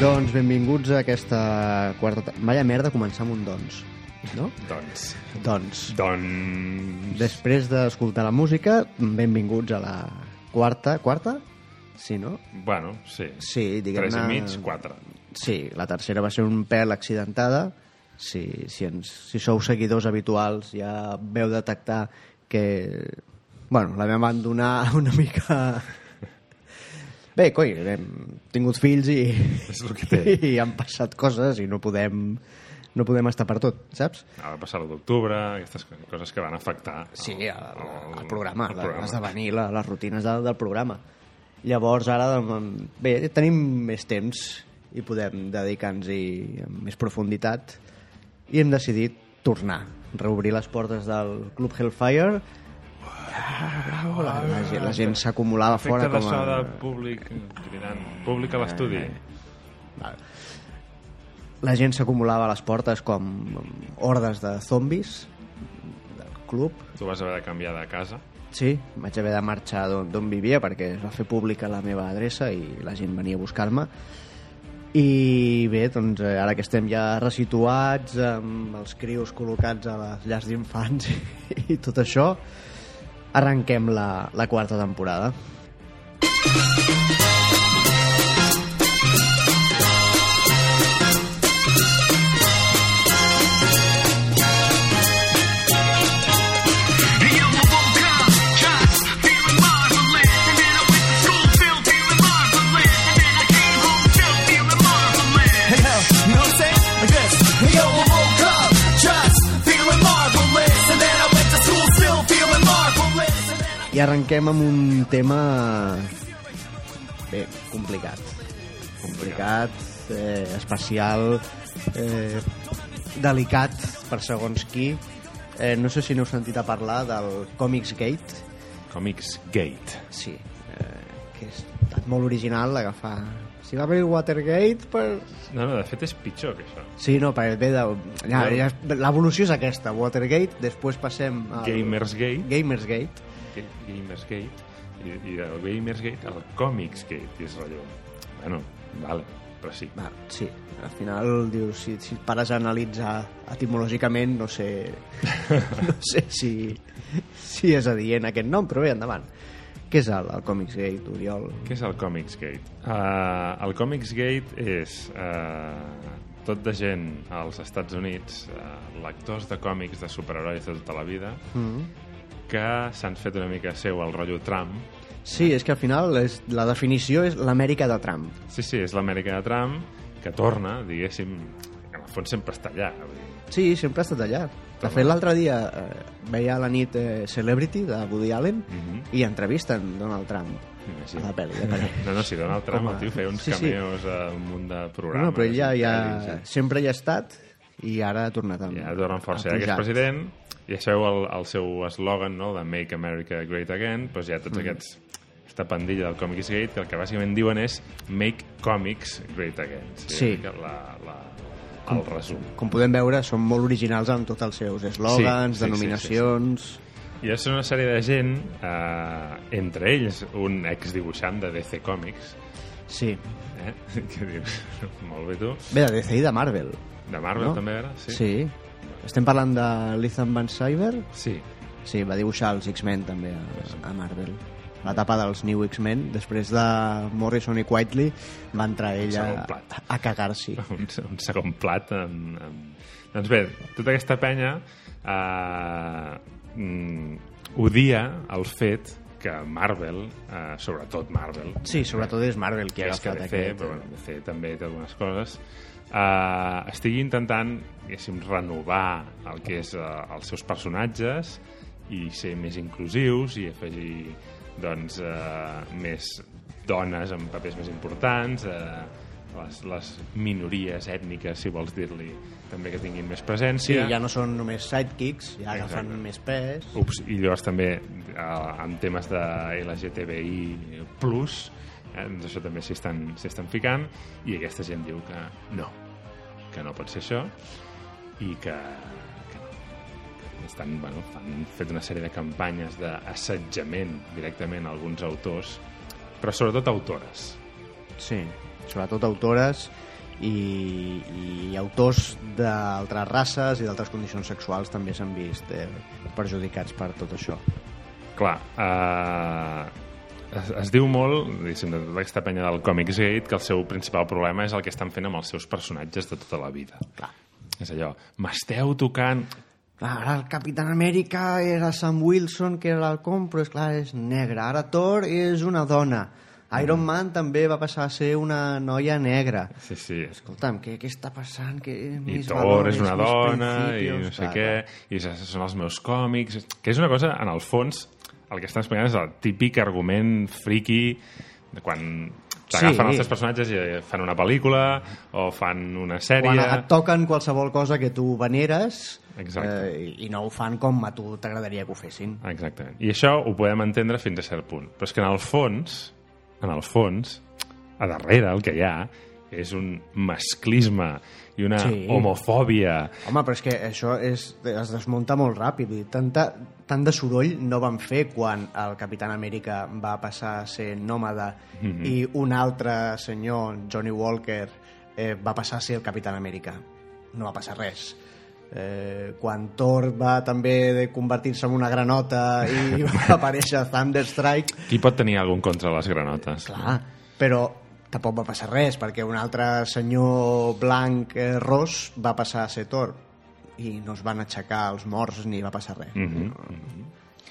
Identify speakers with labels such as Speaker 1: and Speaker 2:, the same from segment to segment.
Speaker 1: Doncs benvinguts a aquesta quarta... ta- Vaya merda començar amb un doncs, no?
Speaker 2: Doncs...
Speaker 1: Doncs.
Speaker 2: Doncs...
Speaker 1: Després d'escoltar la música, benvinguts a la quarta... Quarta? Sí, no?
Speaker 2: Bueno, sí.
Speaker 1: Sí, diguem-ne...
Speaker 2: Tres i mig, quatre.
Speaker 1: Sí, la tercera va ser un pèl accidentada. Si, si, ens, si sou seguidors habituals ja veu detectar que... Bueno, la vam abandonar una mica... Bé, coi, hem tingut fills i,
Speaker 2: És el que té.
Speaker 1: i han passat coses i no podem, no podem estar per tot, saps?
Speaker 2: Ha de passar l'1 d'octubre, aquestes co- coses que van afectar...
Speaker 1: Sí,
Speaker 2: el,
Speaker 1: el,
Speaker 2: el-
Speaker 1: el programa,
Speaker 2: el
Speaker 1: el
Speaker 2: programa.
Speaker 1: esdevenir la, les rutines del, del programa. Llavors, ara, doncs, bé, tenim més temps i podem dedicar-nos-hi amb més profunditat i hem decidit tornar, reobrir les portes del Club Hellfire. Ah, bravo, la, la, gent- la gent s'acumulava fora
Speaker 2: Efecte de
Speaker 1: com
Speaker 2: so de
Speaker 1: a...
Speaker 2: públic, cridant, públic a l'estudi.
Speaker 1: La gent s'acumulava a les portes com hordes de zombis del club
Speaker 2: Tu vas haver de canviar de casa.
Speaker 1: Sí, vaig haver de marxar d'on d'on vivia perquè es va fer pública la meva adreça i la gent venia a buscar-me. I bé, doncs eh, ara que estem ja resituats, amb els crios col·locats a les llars d'infants i, i tot això, arrenquem la, la quarta temporada.
Speaker 3: No say like this. Yo, I woke up just feeling marvelous, and then I went to school still feeling marvelous. And then
Speaker 1: I arrenquem amb un tema... Bé, complicat. Complicat, eh, especial, eh, delicat per segons qui. Eh, no sé si n'heu sentit a parlar del Comics Gate.
Speaker 2: Comics Gate.
Speaker 1: Sí, eh, que és molt original agafar... Si va haver Watergate per...
Speaker 2: No, no, de fet és pitjor que això.
Speaker 1: Sí, no, per bé de... Ja, ja, L'evolució és aquesta, Watergate, després passem al...
Speaker 2: Gamers Gate.
Speaker 1: Gamersgate.
Speaker 2: Ga- Gamers Gate i, i del Gamers Gate al Comics Gate i és allò, bueno, vale però sí,
Speaker 1: Va, Ah, sí, al final dius, si, si pares a analitzar etimològicament, no sé, no sé si, si és adient aquest nom, però bé, endavant. Què és el, el Comics Gate, Oriol?
Speaker 2: què és el Comics Gate? Uh, el Comics Gate és uh, tot de gent als Estats Units uh, lectors de còmics de superherois de tota la vida
Speaker 1: Mm-hmm.
Speaker 2: que s'han fet una mica seu el rotllo Trump
Speaker 1: Sí, és que al final és, la definició és l'Amèrica de Trump.
Speaker 2: sí, sí, és l'Amèrica de Trump que torna, diguéssim en el fons sempre està allà vull dir,
Speaker 1: Sí, sempre ha estat allà. De fet, l'altre dia eh, veia a la nit eh, Celebrity de Woody Allen
Speaker 2: Mhm.
Speaker 1: i entrevisten Donald Trump
Speaker 2: Sí.
Speaker 1: a la pel·li. De pel·li.
Speaker 2: No, no, si Donald Trump,
Speaker 1: Home,
Speaker 2: el tio, feia uns
Speaker 1: sí, sí.
Speaker 2: cameos a un munt de programes.
Speaker 1: No, però ell ja,
Speaker 2: i
Speaker 1: ja,
Speaker 2: pel·lis,
Speaker 1: sempre hi ha estat i ara ha tornat a...
Speaker 2: i Ja torna amb força.
Speaker 1: a
Speaker 2: Ja que és
Speaker 1: pujar.
Speaker 2: president, i això el, el seu eslògan, no?, de Make America Great Again, doncs hi ha
Speaker 1: Mm.
Speaker 2: tots aquests aquesta pandilla del Comics Gate, que el que bàsicament diuen és Make Comics Great Again.
Speaker 1: Sí.
Speaker 2: una mica La, la, el resum.
Speaker 1: com podem veure, són molt originals amb tots els seus eslògans, sí,
Speaker 2: Sí, sí,
Speaker 1: denominacions... Sí, sí,
Speaker 2: I és una sèrie de gent, eh, entre ells un exdibuixant de DC Comics,
Speaker 1: sí, sí.
Speaker 2: eh? que dius, molt bé tu,
Speaker 1: Bé, de DC i de Marvel.
Speaker 2: de Marvel
Speaker 1: No?
Speaker 2: també era?
Speaker 1: Sí. sí. Estem parlant de l'Ethan Van Cyber?
Speaker 2: Sí,
Speaker 1: Sí, va dibuixar els X-Men també a, a Marvel. La tapa dels New X-Men, després de Morrison i Quietly, va entrar ella
Speaker 2: Segon plat.
Speaker 1: a cagar-s'hi.
Speaker 2: un, un segon plat amb, amb... doncs bé, tota aquesta penya eh, mm, odia el fet que Marvel, eh, sobretot Marvel
Speaker 1: Sí, sobretot és Marvel qui ha
Speaker 2: és que
Speaker 1: agafat
Speaker 2: DC,
Speaker 1: aquest... eh?
Speaker 2: però bueno, DC també té algunes coses eh, estigui intentant diguéssim, renovar el que és eh, els seus personatges i ser més inclusius i afegir doncs, eh, més dones amb papers més importants eh, les, les minories ètniques, si vols dir-li també que tinguin més
Speaker 1: Sí,
Speaker 2: presència
Speaker 1: ja no són només sidekicks, ja agafen
Speaker 2: Exacte.
Speaker 1: més pes...
Speaker 2: Ups, i llavors també eh, amb temes de LGTBI+, plus, eh, doncs això també s'hi estan, s'hi estan ficant, i aquesta gent diu que no, que no pot ser això, i que, que no. Estan, bueno, han fet una sèrie de campanyes d'assetjament directament a alguns autors, però sobretot autores.
Speaker 1: Sí, sobretot autores i, i autors d'altres races i d'altres condicions sexuals també s'han vist eh, perjudicats per tot això.
Speaker 2: Clar, eh, es, es diu molt, diguéssim, de tota aquesta penya del Comics Gate, que el seu principal problema és el que estan fent amb els seus personatges de tota la vida.
Speaker 1: Clar.
Speaker 2: És allò, m'esteu tocant...
Speaker 1: Clar, ara el Capitán Amèrica era Sam Wilson, que era el com, però és clar, és negre. Ara Thor és una dona. Iron Man també va passar a ser una noia negra.
Speaker 2: Sí, sí,
Speaker 1: Escolta'm, què, què està passant? Que
Speaker 2: i Thor és una dona i no sé què, i se- són els meus còmics, que és una cosa, en el fons, el que estan explicant és el típic argument friki de quan t'agafen
Speaker 1: Sí.
Speaker 2: els teus personatges i fan una pel·lícula o fan una sèrie...
Speaker 1: Quan et toquen qualsevol cosa que tu veneres
Speaker 2: Exacte.
Speaker 1: eh, i no ho fan com a tu t'agradaria que ho fessin.
Speaker 2: Exactament. I això ho podem entendre fins a cert punt. Però és que en el fons, en el fons, a darrere el que hi ha és un masclisme i una
Speaker 1: Sí.
Speaker 2: homofòbia
Speaker 1: Home, però és que això és, es desmunta molt ràpid. Vull dir, Tanta, tant de soroll no van fer quan el Capitán Amèrica va passar a ser nòmada i un altre senyor, Johnny Walker, eh, va passar a ser el Capitán Amèrica. No va passar res. Eh, quan Thor va també de convertir-se en una granota i va aparèixer Thunderstrike
Speaker 2: Qui pot tenir algun contra les granotes?
Speaker 1: Doncs Clar, però tampoc va passar res, perquè un altre senyor blanc eh, ros va passar a ser Thor i no es van aixecar els morts ni va passar res. Mm -hmm.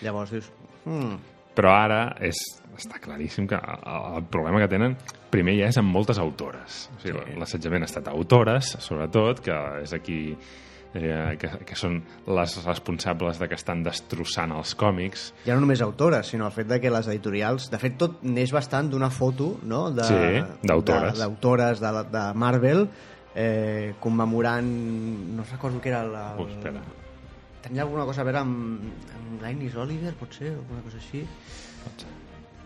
Speaker 1: Llavors dius... Mm,
Speaker 2: Però ara és, està claríssim que el, el problema que tenen primer ja és amb moltes autores. O sigui, sí. L'assetjament ha estat a autores, sobretot, que és aquí eh, que, que són les responsables de que estan destrossant els còmics.
Speaker 1: ja no només autores, sinó el fet de que les editorials... De fet, tot neix bastant d'una foto no? de-
Speaker 2: Sí, d'autores.
Speaker 1: de- d'autores de, de, de Marvel eh, commemorant... No recordo què era la...
Speaker 2: Oh, espera.
Speaker 1: Tenia alguna cosa a veure amb, amb Linus Oliver, potser, o alguna cosa així.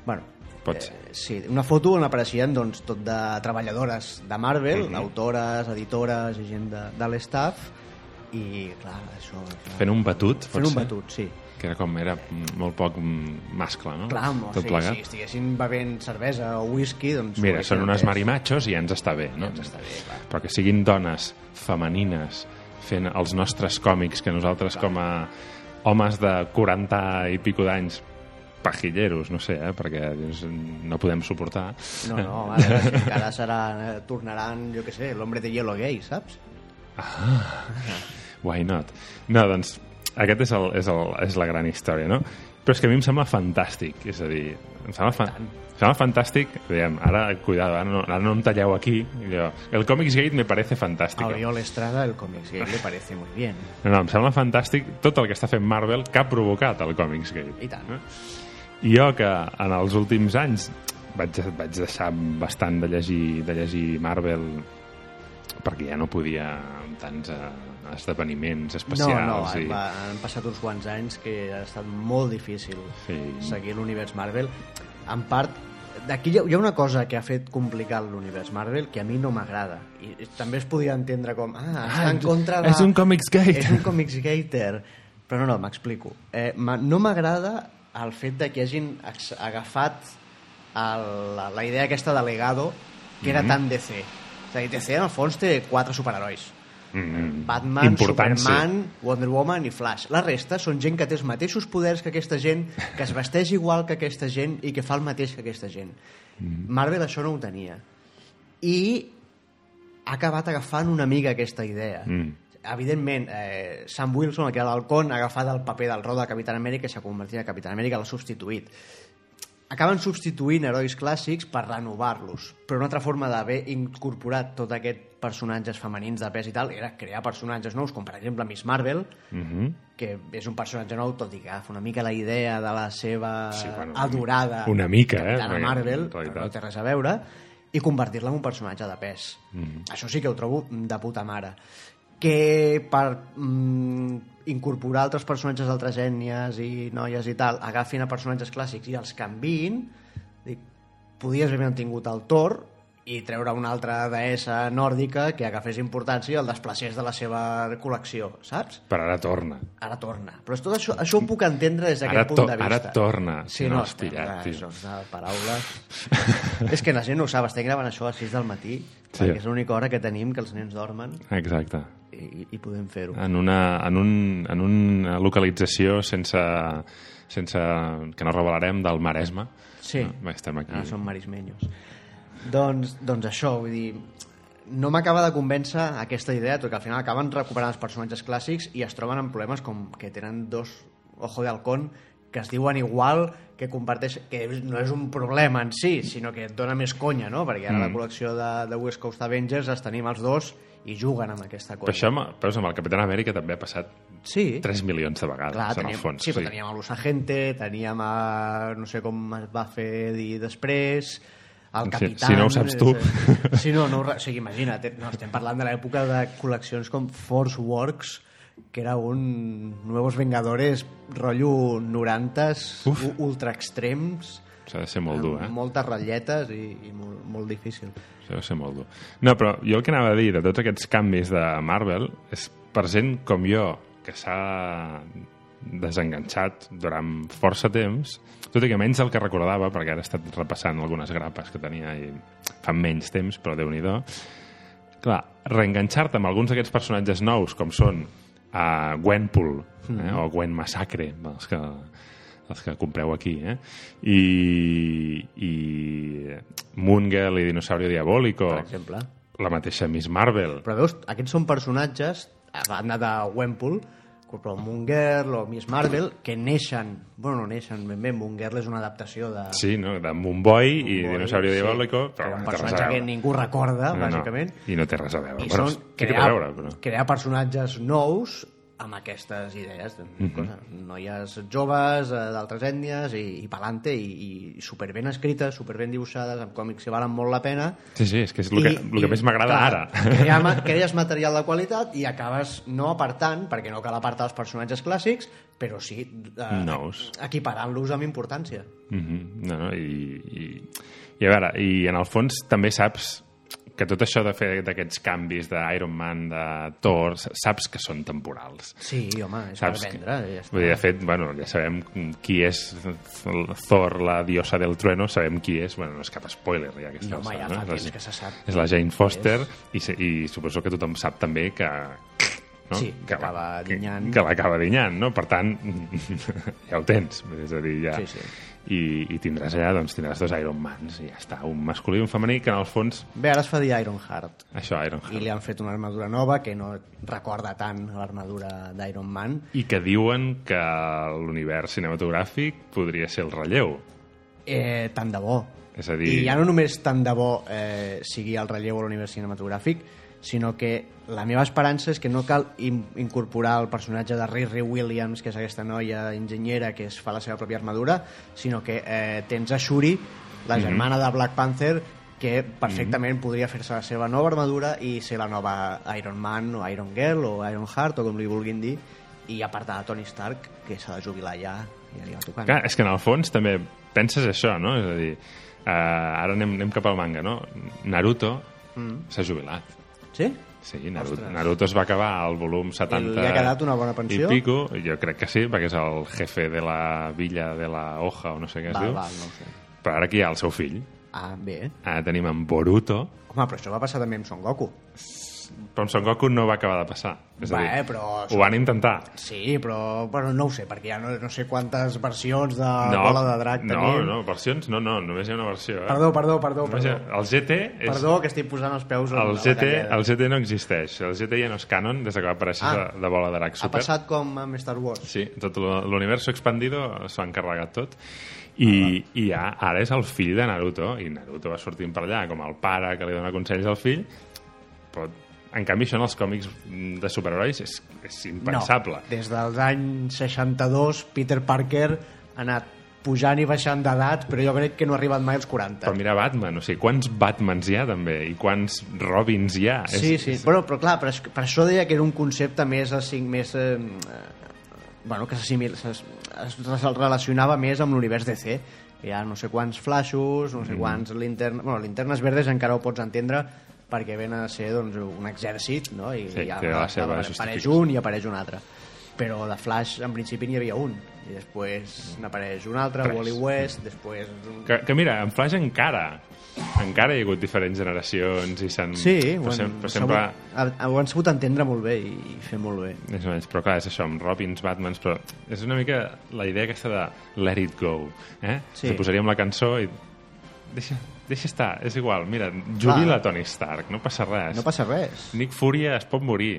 Speaker 1: Bueno,
Speaker 2: Pot ser.
Speaker 1: Sí, una foto on apareixien doncs, tot de treballadores de Marvel,
Speaker 2: Mhm.
Speaker 1: mm -hmm. autores, editores i gent de, de l'estaff, i clar, això... Clar,
Speaker 2: Fent un batut, pot
Speaker 1: fent un
Speaker 2: ser?
Speaker 1: batut, sí.
Speaker 2: Que era com, era molt poc mm, mascle, no?
Speaker 1: Clar, o
Speaker 2: Tot
Speaker 1: sigui,
Speaker 2: plegat.
Speaker 1: si estiguessin bevent cervesa o whisky, doncs...
Speaker 2: Mira, són unes
Speaker 1: marimes.
Speaker 2: marimachos i ja ens està bé, no?
Speaker 1: ens està bé, clar.
Speaker 2: Però que siguin dones femenines fent els nostres còmics que nosaltres com a homes de 40 i pico d'anys pajilleros, no sé, eh, perquè doncs, no podem suportar.
Speaker 1: No, no, ara, encara serà, tornaran, jo què sé, l'hombre de hielo gay, saps?
Speaker 2: Why not? No, doncs, aquest és, el, és, el, és la gran història, no? Però és que a mi em sembla fantàstic, és a dir, em sembla, fa em sembla fantàstic, diguem, ara, cuidado, ara no, ara no em talleu aquí, jo, el Comics Gate me parece fantàstic.
Speaker 1: A Oriol Estrada, el còmic gay, le parece muy bien.
Speaker 2: No, no, em sembla fantàstic tot el que està fent Marvel que ha provocat el Comics Gate.
Speaker 1: I tant.
Speaker 2: I jo que en els últims anys vaig, vaig deixar bastant de llegir, de llegir Marvel perquè ja no podia amb tants eh, esdeveniments
Speaker 1: No,
Speaker 2: especials.
Speaker 1: no, han,
Speaker 2: i...
Speaker 1: va, han passat uns quants anys que ha estat molt difícil
Speaker 2: Sí.
Speaker 1: seguir l'univers Marvel. En part, d'aquí hi, ha- hi ha una cosa que ha fet complicar l'univers Marvel que a mi no m'agrada. I i també es podia entendre com, ah, està
Speaker 2: Ah,
Speaker 1: en contra de...
Speaker 2: és un comics gate.
Speaker 1: És un comics gater. Però no, no, m'explico. Eh, ma- no m'agrada el fet de que hagin ex- agafat el, la, la idea aquesta de Legado que era tan DC. És a dir, DC en el fons té quatre superherois.
Speaker 2: Mm,
Speaker 1: Batman,
Speaker 2: important,
Speaker 1: Superman, Wonder Woman i Flash. La resta són gent que té els mateixos poders que aquesta gent, que es vesteix igual que aquesta gent i que fa el mateix que aquesta gent.
Speaker 2: Mm.
Speaker 1: Marvel això no ho tenia. I ha acabat agafant una mica aquesta idea.
Speaker 2: Mm.
Speaker 1: Evidentment, eh, Sam Wilson, el que era l'Halcón, ha agafat el paper del rol de Capitán Amèrica i s'ha convertit en Capitán Amèrica, l'ha substituït acaben substituint herois clàssics per renovar-los. Però una altra forma d'haver incorporat tot aquest personatges femenins de pes i tal era crear personatges nous, com per exemple Miss Marvel,
Speaker 2: Sí. Mm -hmm.
Speaker 1: que és un personatge nou, tot i que agafa una mica la idea de la seva
Speaker 2: Sí, bueno, una
Speaker 1: Eh, adorada
Speaker 2: una mica, eh,
Speaker 1: Capitana
Speaker 2: perquè,
Speaker 1: Marvel,
Speaker 2: en
Speaker 1: però
Speaker 2: realitat.
Speaker 1: no té res a veure, i convertir-la en un personatge de pes. Mm. Això sí que ho trobo de puta mare. Que per mm, incorporar altres personatges d'altres ètnies i noies i tal, agafin a personatges clàssics i els canviïn, dic, podies haver mantingut el Thor i treure una altra deessa nòrdica que agafés importància i el desplacés de la seva col·lecció, saps?
Speaker 2: Però ara torna.
Speaker 1: Ara torna. Però tot això, això ho puc entendre des d'aquest
Speaker 2: Ara
Speaker 1: punt
Speaker 2: to-
Speaker 1: de vista.
Speaker 2: ara torna.
Speaker 1: Sí, no,
Speaker 2: Que no
Speaker 1: no
Speaker 2: has pillat, tio.
Speaker 1: això és de paraules. és que la gent no ho sap, estem gravant això a les 6 del matí,
Speaker 2: Sí.
Speaker 1: perquè és l'única hora que tenim que els nens dormen
Speaker 2: Exacte.
Speaker 1: i, i podem fer-ho.
Speaker 2: En una, en, un, en una localització sense, sense que no revelarem del Maresme.
Speaker 1: Sí. Ah,
Speaker 2: No, estem aquí.
Speaker 1: Ara són marismenyos. Doncs, doncs això, vull dir, no m'acaba de convèncer aquesta idea, tot que al final acaben recuperant els personatges clàssics i es troben amb problemes com que tenen dos ojo de halcón que es diuen igual, que comparteix que no és un problema en si, sinó que et dona més conya, no? Perquè ara mm. la col·lecció de, de West Coast Avengers els tenim els dos i juguen amb aquesta
Speaker 2: Però
Speaker 1: conya.
Speaker 2: això, amb- però amb el Capitán Amèrica també ha passat
Speaker 1: Sí.
Speaker 2: 3 milions de vegades,
Speaker 1: Clar,
Speaker 2: en
Speaker 1: teníem,
Speaker 2: el fons.
Speaker 1: sí, però teníem a Los Agente, teníem a... no sé com es va fer dir després, el
Speaker 2: Si-
Speaker 1: Capitán...
Speaker 2: si no ho saps tu.
Speaker 1: eh, Sí, no, no, ho re- o sigui, imagina't, eh, no, estem parlant de l'època de col·leccions com Force Works, que era un Nuevos Vengadores rotllo 90s,
Speaker 2: Uf.
Speaker 1: u- ultra extrems,
Speaker 2: S'ha de ser molt dur, eh?
Speaker 1: moltes ratlletes i, i molt, molt difícil.
Speaker 2: Això deu ser molt dur. No, però jo el que anava a dir de tots aquests canvis de Marvel és per gent com jo, que s'ha desenganxat durant força temps, tot i que menys el que recordava, perquè ara he estat repassant algunes grapes que tenia i fa menys temps, però déu nhi Clar, reenganxar-te amb alguns d'aquests personatges nous, com són uh, Gwenpool,
Speaker 1: Mm.
Speaker 2: eh, o Gwen Massacre, els que, els que compreu aquí, eh? I, i Moongirl i Dinosaurio Diabólico,
Speaker 1: Per exemple.
Speaker 2: la mateixa Miss Marvel.
Speaker 1: Però veus, aquests són personatges, a banda de Wempool, però Moon Girl o Miss Marvel, que neixen... Bueno, no neixen ben bé, Moon Girl és una adaptació de...
Speaker 2: Sí, no? de Moonboy i
Speaker 1: Moon Boy,
Speaker 2: Dinosaurio
Speaker 1: sí,
Speaker 2: Diabólico,
Speaker 1: que era
Speaker 2: però
Speaker 1: un
Speaker 2: no té res a
Speaker 1: personatge que
Speaker 2: veure.
Speaker 1: ningú recorda,
Speaker 2: No, no,
Speaker 1: bàsicament.
Speaker 2: I no té res a veure.
Speaker 1: I
Speaker 2: Bueno,
Speaker 1: són
Speaker 2: sí que té
Speaker 1: crear,
Speaker 2: a veure, però...
Speaker 1: crear personatges nous amb aquestes idees.
Speaker 2: Mhm.
Speaker 1: Mm -hmm. Noies joves, eh, d'altres ètnies, i, i pelante, i, i superben escrites, superben dibuixades, amb còmics que valen molt la pena.
Speaker 2: Sí, sí, és que és el que,
Speaker 1: I-
Speaker 2: el
Speaker 1: i,
Speaker 2: que més m'agrada
Speaker 1: clar,
Speaker 2: ara.
Speaker 1: Crear, ma- creies material de qualitat i acabes no apartant, perquè no cal apartar els personatges clàssics, però sí eh,
Speaker 2: Nous.
Speaker 1: equiparant-los amb importància.
Speaker 2: Mhm, no, no, i, i, i a veure, i en el fons també saps que tot això de fer d'aquests canvis d'Iron Man, de Thor, s- saps que són temporals.
Speaker 1: Sí, home, és
Speaker 2: Saps
Speaker 1: per vendre.
Speaker 2: que,
Speaker 1: i Ja està.
Speaker 2: vull dir, de fet, bueno, ja sabem qui és Thor, la diosa del trueno, sabem qui és, bueno, no és cap spoiler ja que
Speaker 1: No, home, ja fa
Speaker 2: És
Speaker 1: temps
Speaker 2: la-
Speaker 1: que se sap.
Speaker 2: És la Jane Foster i, se- i suposo que tothom sap també que no?
Speaker 1: Sí, que
Speaker 2: la-
Speaker 1: acaba
Speaker 2: que-
Speaker 1: dinyant.
Speaker 2: Que l'acaba dinyant, no? Per tant, ja ho tens. És a dir, ja...
Speaker 1: Sí, sí.
Speaker 2: I, I tindràs allà, doncs, tindràs dos Iron Mans i ja està, un masculí i un femení, que en el fons,
Speaker 1: Bé, ara es fa dir Ironheart.
Speaker 2: això, Iron
Speaker 1: I li han fet una armadura nova que no recorda tant l'armadura d'Iron Man.
Speaker 2: I que diuen que l'univers cinematogràfic podria ser el relleu.
Speaker 1: Eh, tant de bo.
Speaker 2: És a dir-
Speaker 1: I ja no només tant de bo eh, sigui el relleu a l'univers cinematogràfic, sinó que la meva esperança és que no cal in incorporar el personatge de Riri Williams, que és aquesta noia enginyera que es fa la seva pròpia armadura, sinó que eh, tens a Shuri,
Speaker 2: Mhm.
Speaker 1: la germana de Black Panther, que perfectament podria fer-se la seva nova armadura i ser la nova Iron Man o Iron Girl o Iron Heart o com li vulguin dir, i apartar a Tony Stark, que s'ha de jubilar ja, ja li va tocant.
Speaker 2: Clar, és que en el fons també penses això, no? És a dir, eh, ara anem, anem cap al manga, no? Naruto
Speaker 1: Mm.
Speaker 2: s'ha jubilat.
Speaker 1: Sí?
Speaker 2: Sí, Naruto,
Speaker 1: Ostres.
Speaker 2: Naruto es va acabar al volum 70...
Speaker 1: I li ha quedat una bona pensió?
Speaker 2: I pico, jo crec que sí, perquè és el jefe de la villa de la Hoja o no sé què es
Speaker 1: Val,
Speaker 2: diu.
Speaker 1: val, no ho sé.
Speaker 2: Però ara aquí hi ha el seu fill.
Speaker 1: Ah, bé.
Speaker 2: Ara tenim en Boruto,
Speaker 1: Home, però això va passar també amb Son Goku.
Speaker 2: però en Son Goku no va acabar de passar. És
Speaker 1: Va,
Speaker 2: a dir,
Speaker 1: eh, però-
Speaker 2: ho van intentar.
Speaker 1: Sí, però bueno, no ho sé, perquè ja no, no sé quantes versions de Bola de Drac
Speaker 2: no,
Speaker 1: tenim.
Speaker 2: no, versions, no, no, només hi ha una versió. Eh?
Speaker 1: Perdó, perdó, perdó,
Speaker 2: Només hi
Speaker 1: perdó.
Speaker 2: ha- El GT és...
Speaker 1: Perdó, que estic posant els peus a la
Speaker 2: El GT,
Speaker 1: galleda.
Speaker 2: el GT no existeix. El GT ja no és canon des que va aparèixer
Speaker 1: Ah.
Speaker 2: ah, de, de Bola d'Arac
Speaker 1: Ha
Speaker 2: Super.
Speaker 1: passat com amb Star Wars.
Speaker 2: Sí, tot lo- l'univers expandido s'ho ha encarregat tot.
Speaker 1: Ah,
Speaker 2: I, i ja, ara és el fill de Naruto, i Naruto va sortint per allà com el pare que li dona consells al fill, però en canvi això en els còmics de superherois és, és impensable.
Speaker 1: No, des dels anys 62, Peter Parker ha anat pujant i baixant d'edat, però jo crec que no ha arribat mai als 40.
Speaker 2: Però mira Batman, o sigui, quants Batmans hi ha també, i quants Robins hi ha.
Speaker 1: Sí, sí. Bueno, però clar, per, per això deia que era un concepte més... assi- més eh, eh, bueno, que s'assimil- s'as- es, es relacionava més amb l'univers DC hi ha no sé quants flashos, no
Speaker 2: Mm.
Speaker 1: sé quants linternes... Bueno, linternes verdes encara ho pots entendre perquè ven a ser doncs, un exèrcit, no? I,
Speaker 2: Sí,
Speaker 1: hi ha-
Speaker 2: té la seva
Speaker 1: apareix
Speaker 2: justificació.
Speaker 1: un i apareix un altre. Però de Flash, en principi, n'hi havia un. I després n'apareix un altre,
Speaker 2: Tres.
Speaker 1: Wally West, després... un-
Speaker 2: Que, que mira, en Flash encara encara hi ha hagut diferents generacions i s'han...
Speaker 1: Sí,
Speaker 2: però,
Speaker 1: ho
Speaker 2: sem
Speaker 1: han,
Speaker 2: però sempre...
Speaker 1: sabut, ho han sabut entendre molt bé i fer molt bé.
Speaker 2: Més o menys, però clar, és això, amb Robins, Batmans, però és una mica la idea aquesta de let it go, eh?
Speaker 1: Sí.
Speaker 2: Li posaríem la cançó i deixa, deixa estar, és igual, mira, jubila Tony Stark, no passa res.
Speaker 1: No passa res.
Speaker 2: Nick Fury es pot morir,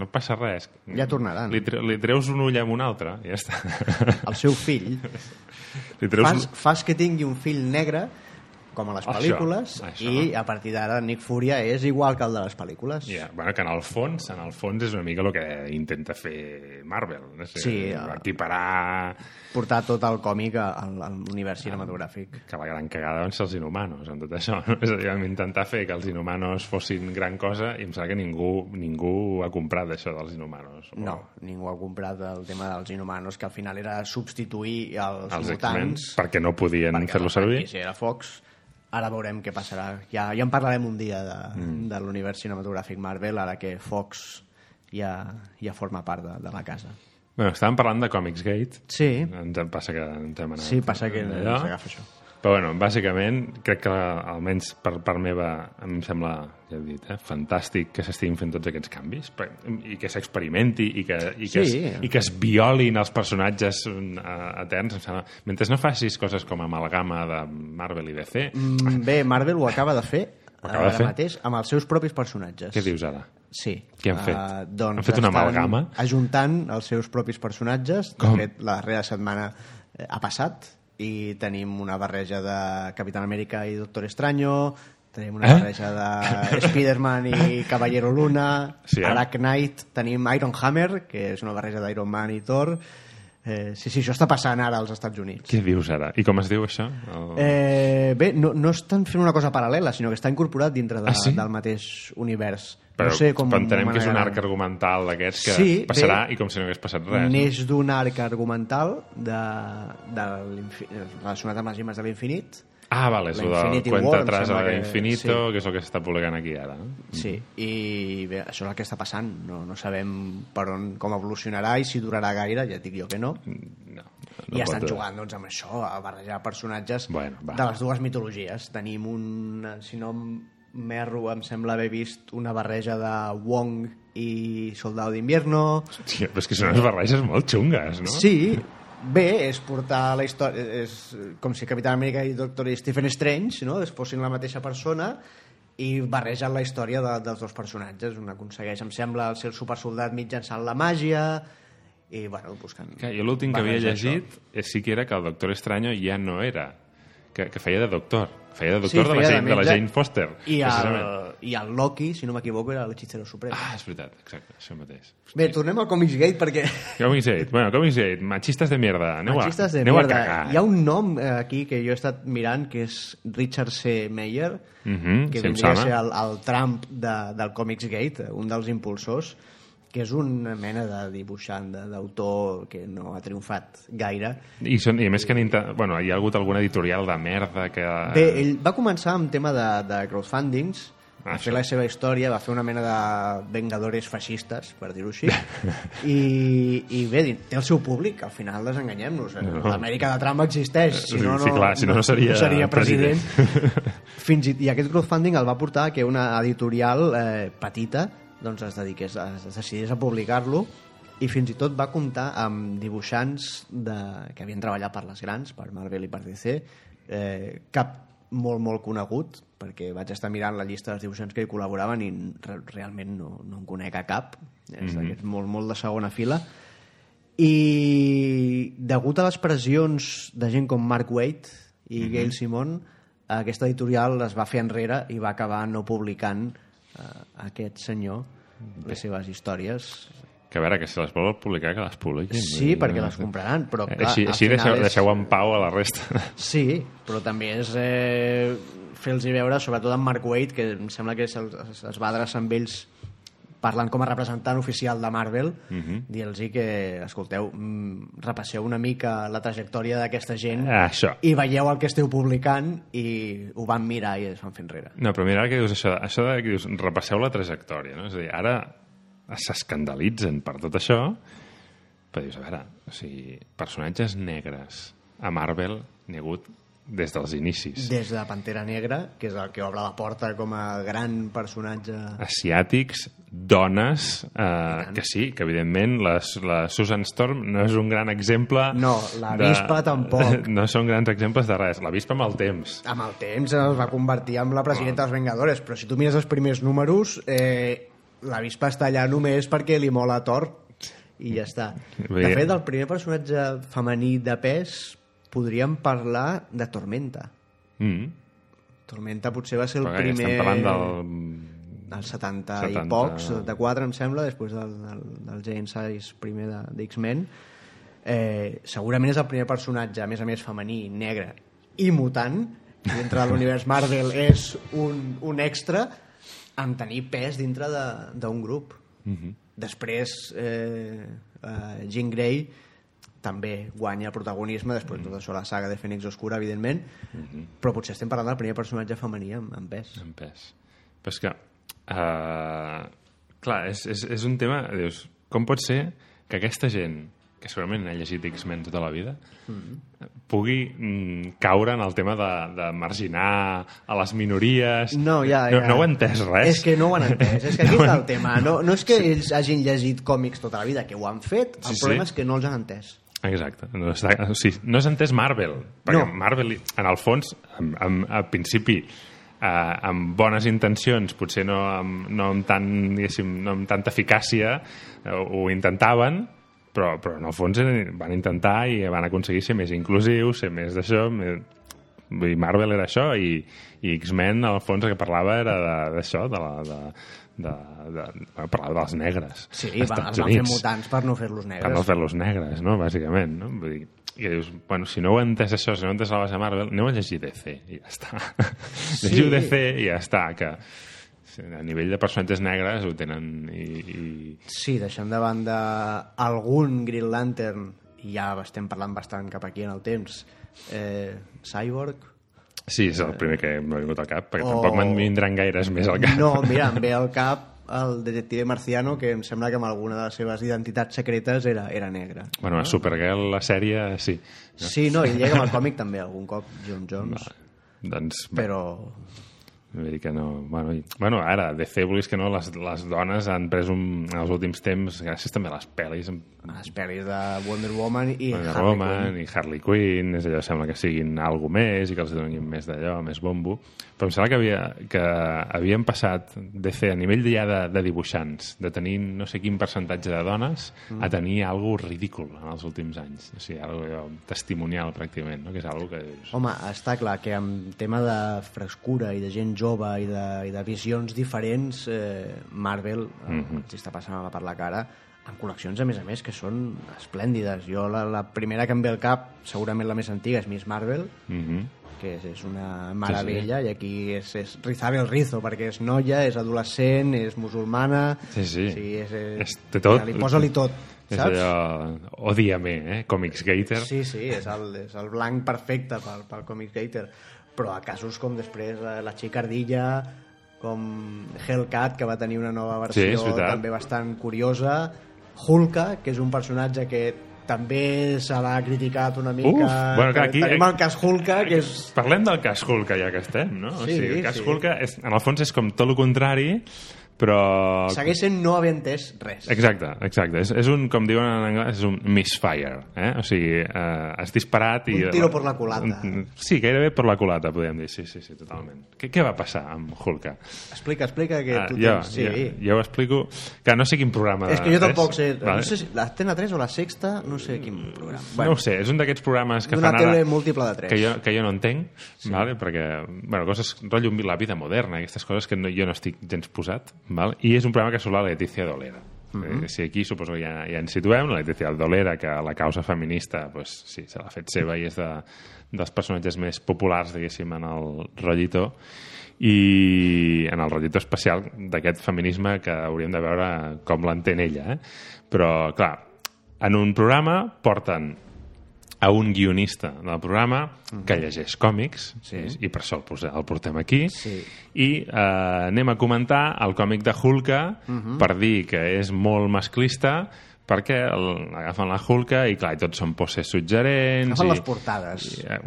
Speaker 2: no passa res.
Speaker 1: Ja tornaran.
Speaker 2: Li, tre li treus un ull amb un altre i ja està.
Speaker 1: El seu fill,
Speaker 2: li treus...
Speaker 1: fas, fas que tingui un fill negre, com a les
Speaker 2: Això,
Speaker 1: pel·lícules,
Speaker 2: això.
Speaker 1: i a partir d'ara Nick Furia és igual que el de les pel·lícules.
Speaker 2: Yeah. Bueno, que en el fons, en el fons és una mica el que intenta fer Marvel. No sé,
Speaker 1: Sí, eh.
Speaker 2: equiparar
Speaker 1: Portar tot el còmic a, a
Speaker 2: Ah,
Speaker 1: l'univers cinematogràfic.
Speaker 2: que la gran cagada van ser els inhumanos en tot això. No? És a dir, vam intentar fer que els inhumanos fossin gran cosa i em sembla que ningú, ningú ha comprat això dels inhumanos.
Speaker 1: No, ningú ha comprat el tema dels inhumanos, que al final era substituir els,
Speaker 2: els X-Men,
Speaker 1: mutants
Speaker 2: perquè no podien
Speaker 1: que
Speaker 2: fer-lo
Speaker 1: la
Speaker 2: servir.
Speaker 1: franquícia era Fox. Ara veurem què passarà. Ja, ja en parlarem un dia de, mm. de l'univers cinematogràfic Marvel, ara que Fox ja, ja forma part de, de la casa.
Speaker 2: Bueno, estàvem parlant de Comics Gate.
Speaker 1: Sí,
Speaker 2: Ens en passa que ens hem anat.
Speaker 1: sí passa que
Speaker 2: allò.
Speaker 1: ens agafa això.
Speaker 2: Però bueno, bàsicament, crec que almenys per part meva em sembla, ja he dit, eh, fantàstic que s'estiguin fent tots aquests canvis per- i que s'experimenti i, que, i, que
Speaker 1: Sí.
Speaker 2: es, i que es violin els personatges mm, eh, eterns. Em sembla. Mentre no facis coses com amalgama de Marvel i DC, mm.
Speaker 1: Mm, Bé, Marvel ho acaba de fer
Speaker 2: Ho acaba de
Speaker 1: ara
Speaker 2: fer?
Speaker 1: mateix amb els seus propis personatges.
Speaker 2: què dius ara?
Speaker 1: Sí.
Speaker 2: Què han fet?
Speaker 1: Eh, doncs
Speaker 2: Han fet una
Speaker 1: estan
Speaker 2: amalgama?
Speaker 1: Ajuntant els seus propis personatges.
Speaker 2: Com?
Speaker 1: De fet, la darrera setmana eh, ha passat i tenim una barreja de Capitán América i Doctor Estranyo, tenim una
Speaker 2: Eh?
Speaker 1: barreja de Spider-Man i Caballero Luna,
Speaker 2: Sí, eh?
Speaker 1: Arachnite, tenim Iron Hammer, que és una barreja d'Iron Man i Thor. Eh, sí, sí, això està passant ara als Estats Units.
Speaker 2: Què dius ara? I com es diu això? El...
Speaker 1: Eh, bé, no, no estan fent una cosa paral·lela, sinó que està incorporat dintre de,
Speaker 2: Ah, sí?
Speaker 1: del mateix univers.
Speaker 2: Però,
Speaker 1: no sé com...
Speaker 2: però entenem que és un
Speaker 1: manegar-ho.
Speaker 2: arc argumental d'aquests que
Speaker 1: Sí,
Speaker 2: passarà
Speaker 1: bé.
Speaker 2: i com si no hagués passat res. no?
Speaker 1: Neix d'un arc argumental de, de l'infi- relacionat amb les imatges de l'infinit,
Speaker 2: Ah, vale, és
Speaker 1: La
Speaker 2: el del
Speaker 1: Infinity
Speaker 2: cuenta
Speaker 1: War, em
Speaker 2: atrás a
Speaker 1: sembla
Speaker 2: la
Speaker 1: que-
Speaker 2: infinito,
Speaker 1: sí.
Speaker 2: que és el que s'està publicant aquí ara. no?
Speaker 1: sí, i bé, això és el que està passant, no, no sabem per on, com evolucionarà i si durarà gaire, ja et dic jo que no,
Speaker 2: No,
Speaker 1: I
Speaker 2: no
Speaker 1: ja estan
Speaker 2: pot-
Speaker 1: jugant doncs, amb això, a barrejar personatges
Speaker 2: Bueno, va.
Speaker 1: de les dues mitologies. Tenim un, si no em- m'erro, em sembla haver vist una barreja de Wong i Soldado d'Invierno.
Speaker 2: Hòstia, però és que són unes barreges molt xungues, no?
Speaker 1: Sí, bé, és portar la història... És com si Capitán América i Doctor i Stephen Strange no? es fossin la mateixa persona i barregen la història de, dels dos personatges. Un aconsegueix, em sembla, ser el supersoldat mitjançant la màgia i, bueno, buscant...
Speaker 2: Que jo l'últim que havia
Speaker 1: barrejar això.
Speaker 2: llegit eh, sí que era que el Doctor Estranyo ja no era, que, que feia de doctor, feia de doctor de, la
Speaker 1: feia de
Speaker 2: Jane, de, la
Speaker 1: metge.
Speaker 2: Jane Foster.
Speaker 1: I
Speaker 2: precisament.
Speaker 1: el, I el Loki, si no m'equivoco, era l'Hechicero Supremo.
Speaker 2: Ah, és veritat, exacte, això mateix.
Speaker 1: Bé, tornem al Comics Gate perquè...
Speaker 2: Comics 8, bueno, Comics 8, machistes de mierda, aneu a,
Speaker 1: Machistes de
Speaker 2: aneu
Speaker 1: merda.
Speaker 2: a cagar.
Speaker 1: Hi ha un nom eh, aquí que jo he estat mirant que és Richard C. Meyer,
Speaker 2: Mhm,
Speaker 1: que
Speaker 2: sí, em
Speaker 1: vindria a
Speaker 2: sona.
Speaker 1: ser el, el Trump de, del Comics Gate, un dels impulsors, que és una mena de dibuixant, de- d'autor que no ha triomfat gaire.
Speaker 2: I, són, I a més que han intent... bueno, hi ha hagut alguna editorial de merda que...
Speaker 1: Bé, ell va començar amb tema de, de crowdfundings, va
Speaker 2: Ah, sí.
Speaker 1: fer la seva història, va fer una mena de vengadores feixistes, per dir-ho així, i, i bé, di- té el seu públic, al final desenganyem-nos. eh?
Speaker 2: No.
Speaker 1: L'Amèrica de Trump existeix, si no, no,
Speaker 2: sí, clar, si no, no seria,
Speaker 1: no seria president.
Speaker 2: president.
Speaker 1: Fins i, I aquest crowdfunding el va portar a que una editorial eh, petita doncs es, dediqués, a- es decidís a publicar-lo i fins i tot va comptar amb dibuixants de, que havien treballat per les grans, per Marvel i per DC, eh, cap molt, molt conegut, perquè vaig estar mirant la llista dels dibuixants que hi col·laboraven i re realment no, no en conec a cap, és mm
Speaker 2: Mhm.
Speaker 1: -hmm. molt, molt de segona fila, i degut a les pressions de gent com Mark Waid i mm
Speaker 2: Mhm.
Speaker 1: -hmm. Gail Simon, aquesta editorial es va fer enrere i va acabar no publicant eh, aquest senyor
Speaker 2: Mm.
Speaker 1: les seves històries.
Speaker 2: Que a veure, que si les vol publicar, que les publiquin.
Speaker 1: Sí, perquè les compraran, però clar,
Speaker 2: eh? així
Speaker 1: al
Speaker 2: així
Speaker 1: final
Speaker 2: deixeu,
Speaker 1: és-
Speaker 2: deixeu en pau a la resta.
Speaker 1: Sí, però també és eh, fer-los veure, sobretot amb Mark Waid, que em sembla que se'ls- es, es va adreçar amb ells parlant com a representant oficial de Marvel,
Speaker 2: Mhm.
Speaker 1: dir-los que, escolteu, mm, repasseu una mica la trajectòria d'aquesta gent
Speaker 2: Ah, això.
Speaker 1: i veieu el que esteu publicant i ho van mirar i es van fer enrere.
Speaker 2: No, però mira, ara que dius això, això de, que dius, repasseu la trajectòria, no? És a dir, ara s'escandalitzen per tot això, però dius, a veure, o sigui, personatges negres a Marvel n'hi ha hagut des dels inicis.
Speaker 1: Des de Pantera Negra, que és el que obre la porta com a gran personatge...
Speaker 2: asiàtics, dones, eh, que sí, que evidentment les, la Susan Storm no és un gran exemple...
Speaker 1: No, la Vispa tampoc.
Speaker 2: No són grans exemples de res. La Vispa amb el temps.
Speaker 1: Amb el temps es va convertir en la presidenta dels Vengadores, però si tu mires els primers números, eh, la vispa està allà només perquè li mola a Thor i ja està. De
Speaker 2: Bé.
Speaker 1: fet, el primer personatge femení de pes podríem parlar de Tormenta.
Speaker 2: Mm.
Speaker 1: Tormenta potser va ser el
Speaker 2: Però primer...
Speaker 1: primer...
Speaker 2: estem parlant del...
Speaker 1: del 70,
Speaker 2: 70.
Speaker 1: i pocs, 74 em sembla, després del, del, del Jane Size primer de- d'X-Men. Eh, segurament és el primer personatge, a més a més, femení, negre i mutant, i dintre de l'univers Marvel és un, un extra, en tenir pes dintre de- d'un grup. Després, eh, eh, Jean Grey també guanya protagonisme després de tota això, la saga de Fènix Oscura, evidentment, però potser estem parlant del primer personatge femení amb, amb pes.
Speaker 2: En pes. Però és que... eh, clar, és, és, és un tema... Dius, com pot ser que aquesta gent que segurament ha llegit X-Men tota la vida,
Speaker 1: Mm-hmm.
Speaker 2: pugui mm, caure en el tema de, de marginar a les minories...
Speaker 1: No, ja,
Speaker 2: No,
Speaker 1: ja.
Speaker 2: no ho he entès res.
Speaker 1: És que no ho han entès, és que aquí
Speaker 2: No ho
Speaker 1: està
Speaker 2: han-
Speaker 1: el tema. No, no és que ells hagin llegit còmics tota la vida, que ho han fet, el
Speaker 2: Sí, sí.
Speaker 1: problema és que no els han entès.
Speaker 2: Exacte. No, està, o sigui, no s'ha entès Marvel, perquè
Speaker 1: No.
Speaker 2: no. Marvel, en el fons, en, en, al principi, eh, amb bones intencions, potser no amb, no amb, tant, diguéssim, no amb tanta eficàcia, eh, ho intentaven, però, però en el fons eren- van intentar i van aconseguir ser més inclusius, ser més d'això... més- Vull dir, Marvel era això i, i X-Men, en el fons, el que parlava era de- d'això, de, la- de, de, de, de, parlava dels negres.
Speaker 1: Sí,
Speaker 2: als
Speaker 1: va,
Speaker 2: Estats
Speaker 1: els van fer
Speaker 2: Units
Speaker 1: mutants per no fer-los
Speaker 2: per no
Speaker 1: negres.
Speaker 2: fer-los negres, no? Bàsicament, no? Vull dir, i dius, bueno, si no heu entès això, si no heu entès la base de Marvel, aneu a llegir DC i ja està. Sí. Llegiu DC i ja està, que a nivell de personatges negres ho tenen i... i...
Speaker 1: Sí, deixant de banda algun Green Lantern, i ja estem parlant bastant cap aquí en el temps, eh, Cyborg,
Speaker 2: Sí, és el primer que m'ha vingut al cap, perquè
Speaker 1: O-
Speaker 2: oh. tampoc me'n vindran gaires més al cap.
Speaker 1: No, mira, em ve al cap el detective Marciano, que em sembla que amb alguna de les seves identitats secretes era, era negre.
Speaker 2: Bueno, a Supergirl, la sèrie, sí.
Speaker 1: Sí, no, i llega amb el còmic també algun cop, John Jones,
Speaker 2: Doncs,
Speaker 1: però
Speaker 2: Vull dir que no... Bueno, i... bueno ara, DC, vulguis que no, les, les dones han pres un, en els últims temps, gràcies també a les pel·lis,
Speaker 1: a les pel·lis de Wonder Woman i
Speaker 2: Wonder
Speaker 1: Harley Quinn.
Speaker 2: Woman i Harley Quinn, és allò, sembla que siguin algo més i que els donin més d'allò, més bombo. Però em sembla que, havia, que havien passat de fer a nivell ja de, de dibuixants, de tenir no sé quin percentatge de dones, mm. a tenir algo ridícul en els últims anys. O sigui, algo allò, testimonial, pràcticament, no? que és algo que dius...
Speaker 1: Home, està clar que amb tema de frescura i de gent jove i de, i de visions diferents, eh, Marvel eh,
Speaker 2: Mhm.
Speaker 1: els està passant la per la cara amb col·leccions, a més a més, que són esplèndides. Jo, la, la primera que em ve al cap, segurament la més antiga, és Miss Marvel,
Speaker 2: Mm -hmm.
Speaker 1: que és, és una meravella, i aquí és, és rizar el rizo, perquè és noia, és adolescent, és musulmana...
Speaker 2: Sí, sí.
Speaker 1: sí és, és,
Speaker 2: És- té tot.
Speaker 1: Li posa-li tot,
Speaker 2: És
Speaker 1: saps?
Speaker 2: allò... Odia-me, eh? Comics Gator.
Speaker 1: Sí, sí, és el, és el blanc perfecte pel, pel Comic Gator. Però a casos com després eh, la Xicardilla, com Hellcat, que va tenir una nova
Speaker 2: Sí, és
Speaker 1: versió
Speaker 2: veritat.
Speaker 1: també bastant curiosa, Hulka, que és un personatge que també se l'ha criticat una mica.
Speaker 2: Uf, bueno, clar, aquí-
Speaker 1: Tenim el cas Hulka, que és...
Speaker 2: Parlem del cas Hulka, ja que estem, no? o
Speaker 1: Sí,
Speaker 2: sigui, el cas
Speaker 1: sí.
Speaker 2: Hulka, és, en el fons, és com tot el contrari, però...
Speaker 1: Segueix sent no haver entès res.
Speaker 2: Exacte, exacte. És, és un, com diuen en anglès, és un misfire. Eh? O sigui, eh, has disparat i...
Speaker 1: Un tiro por la culata.
Speaker 2: Un- Sí, gairebé per la culata, podríem dir. Sí, sí, sí, totalment. Què, què va passar amb Hulka?
Speaker 1: Explica, explica que
Speaker 2: Ah,
Speaker 1: tu
Speaker 2: jo,
Speaker 1: tens... Sí.
Speaker 2: jo, jo ho explico... Que no sé quin programa...
Speaker 1: És que jo tampoc sé...
Speaker 2: Vale.
Speaker 1: No sé si la Tena 3 o la Sexta, no sé quin programa.
Speaker 2: Bueno, no ho sé, és un d'aquests programes que
Speaker 1: d'una
Speaker 2: fan ara...
Speaker 1: tele múltiple de 3.
Speaker 2: Que jo, que jo no entenc, sí. vale? perquè, bueno, coses, rotllo la vida moderna, aquestes coses que no, jo no estic gens posat, val? i és un programa que surt la Letícia Dolera. Mm -hmm. Si aquí suposo que ja, ja ens situem, la Leticia Aldolera, que la causa feminista pues, sí, se l'ha fet seva i és de, dels personatges més populars, diguéssim, en el rotllito i en el rotllito especial d'aquest feminisme que hauríem de veure com l'entén ella. Eh? Però, clar, en un programa porten a un guionista del programa que llegeix còmics
Speaker 1: Sí.
Speaker 2: i per això el, posa- el portem aquí
Speaker 1: Sí.
Speaker 2: i eh, anem a comentar el còmic de Hulka per dir que és molt masclista perquè el, agafen la Hulka i clar, i tots són poses suggerents
Speaker 1: Agafen
Speaker 2: i, eh,
Speaker 1: les portades.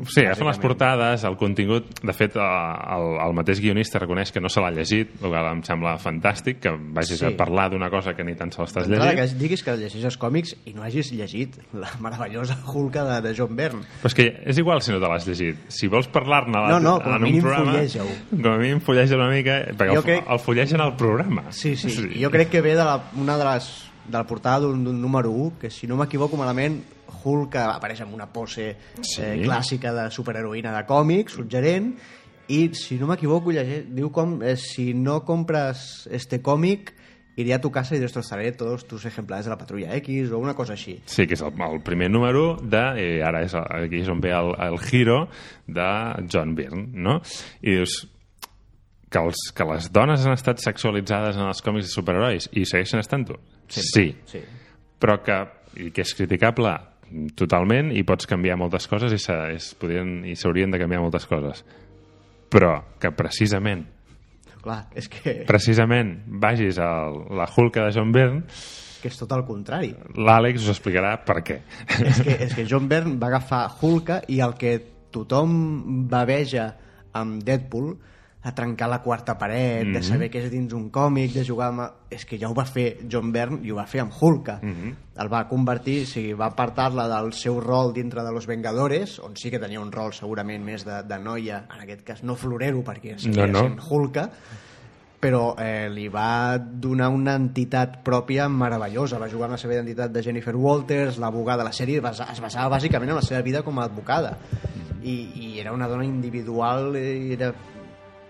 Speaker 2: Sí, agafen les portades, el contingut... De fet, eh, el, el mateix guionista reconeix que no se l'ha llegit, el que em sembla fantàstic, que vagis
Speaker 1: Sí.
Speaker 2: sí. a parlar d'una cosa que ni tan sols t'has
Speaker 1: D'entrada,
Speaker 2: llegit.
Speaker 1: que diguis que llegeixes còmics i no hagis llegit la meravellosa Hulka de, de John Byrne.
Speaker 2: Però és que és igual si no te l'has llegit. Si vols parlar-ne a la-
Speaker 1: No, no, com a
Speaker 2: en un
Speaker 1: mínim
Speaker 2: programa...
Speaker 1: fulleja-ho.
Speaker 2: Com a mínim fulleja una mica, perquè
Speaker 1: Jo
Speaker 2: el,
Speaker 1: crec-
Speaker 2: crec... el fullegen al programa.
Speaker 1: Sí, sí, sí. Jo crec que ve de la, una de les de la portada d'un d'un número 1, que si no m'equivoco malament, Hulk apareix amb una pose sí. eh, clàssica de superheroïna de còmic, suggerent, i si no m'equivoco, llege- diu com eh, si no compres este còmic, iré a tu casa i destrozaré tots tus exemplares de la Patrulla X o una cosa així.
Speaker 2: Sí, que és el, el primer número de... Eh, ara és el, aquí és on ve el, el giro de John Byrne, no? I dius que, els, que les dones han estat sexualitzades en els còmics de superherois i segueixen estant-ho? Sí.
Speaker 1: Sí.
Speaker 2: Però que, i que és criticable totalment i pots canviar moltes coses i se- es podrien- i s'haurien de canviar moltes coses. Però que precisament
Speaker 1: Clar, és que,
Speaker 2: precisament vagis a la Hulka de John Byrne,
Speaker 1: que és tot el contrari.
Speaker 2: l'Àlex us explicarà per què.
Speaker 1: és, que, és que John Byrne va agafar Hulka i el que tothom baveja amb Deadpool a trencar la quarta paret, mm
Speaker 2: Mhm.
Speaker 1: -hmm. de saber què és dins un còmic, de jugar amb... És que ja ho va fer John Byrne i ho va fer amb Hulka. Mm
Speaker 2: Mhm.
Speaker 1: -hmm. El va convertir, o sigui, va apartar-la del seu rol dintre de Los Vengadores, on sí que tenia un rol segurament més de, de noia, en aquest cas no florero, perquè seguia
Speaker 2: No, no.
Speaker 1: sent Hulka, però eh, li va donar una entitat pròpia meravellosa. Va jugar amb la seva identitat de Jennifer Walters, l'abogada. La sèrie basa- es basava bàsicament en la seva vida com a advocada. I, i era una dona individual, eh, era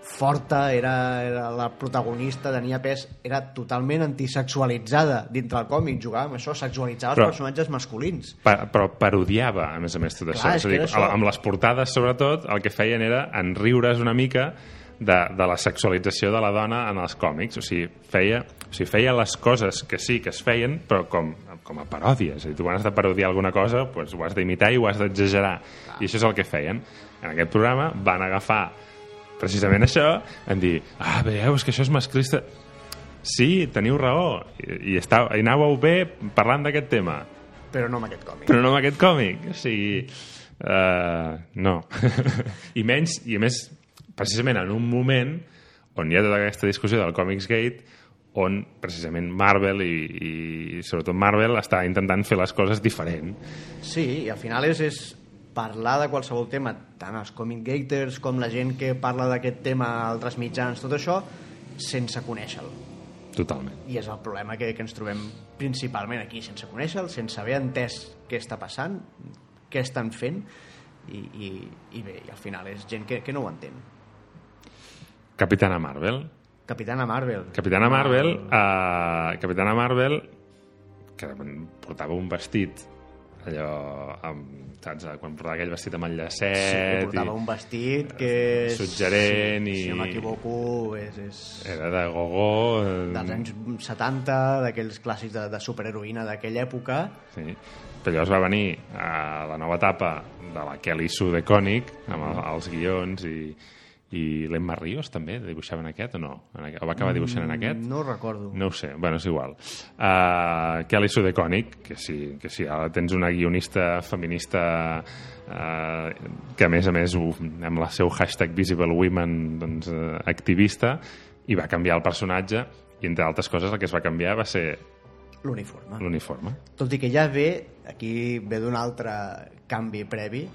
Speaker 1: forta, era, era la protagonista, tenia pes, era totalment antisexualitzada dintre el còmic, jugava amb això, sexualitzava els
Speaker 2: Però-
Speaker 1: personatges masculins.
Speaker 2: Pa, però parodiava, a més a més, tot això.
Speaker 1: Clar, és
Speaker 2: és a
Speaker 1: que
Speaker 2: dir,
Speaker 1: era això.
Speaker 2: amb les portades, sobretot, el que feien era enriure's una mica de, de la sexualització de la dona en els còmics. O sigui, feia, o sigui, feia les coses que sí que es feien, però com, com a paròdia. És a dir, tu quan has de parodiar alguna cosa, doncs ho has d'imitar i ho has d'exagerar. I això és el que feien. En aquest programa van agafar precisament això, en dir, ah, veieu, és que això és masclista. Sí, teniu raó, i, i, estàveu, i anàveu bé parlant d'aquest tema,
Speaker 1: Però no amb aquest còmic.
Speaker 2: però no amb aquest còmic. O sigui, uh, no. I menys, i a més, precisament en un moment on hi ha tota aquesta discussió del Comics Gate, on precisament Marvel i, i sobretot Marvel està intentant fer les coses diferent.
Speaker 1: Sí, i al final és, és parlar de qualsevol tema, tant els comic gators com la gent que parla d'aquest tema a altres mitjans, tot això, sense conèixer-lo.
Speaker 2: Totalment.
Speaker 1: I és el problema que, que ens trobem principalment aquí, sense conèixer-lo, sense haver entès què està passant, què estan fent, i, i, i bé, i al final és gent que, que no ho entén.
Speaker 2: Capitana Marvel.
Speaker 1: Capitana Marvel.
Speaker 2: Capitana Marvel, eh, Capitana Marvel que portava un vestit allò amb, saps, quan portava aquell vestit amb el llacet
Speaker 1: Sí, que portava
Speaker 2: i...
Speaker 1: un vestit que... és-
Speaker 2: eh, Suggerent
Speaker 1: si,
Speaker 2: i-
Speaker 1: Si no m'equivoco, és... és...
Speaker 2: Era de gogó... eh,
Speaker 1: dels anys 70, d'aquells clàssics de, de superheroïna d'aquella època.
Speaker 2: Sí. Però llavors va venir a la nova etapa de la Kelly Sue de Cònic, amb el, els guions i, i l'Emma Ríos també dibuixava en aquest o no? En aquest, o va acabar dibuixant en aquest?
Speaker 1: Mm, No ho recordo.
Speaker 2: No ho sé, bueno, és igual. Uh, Kelly Sue de Cònic, que si, que si ara tens una guionista feminista uh, que a més a més ho, amb el seu hashtag Visible Women doncs, uh, activista i va canviar el personatge i entre altres coses el que es va canviar va ser Mm.
Speaker 1: L'uniforme.
Speaker 2: l'uniforme.
Speaker 1: Tot i que ja ve, aquí ve d'un altre canvi previ,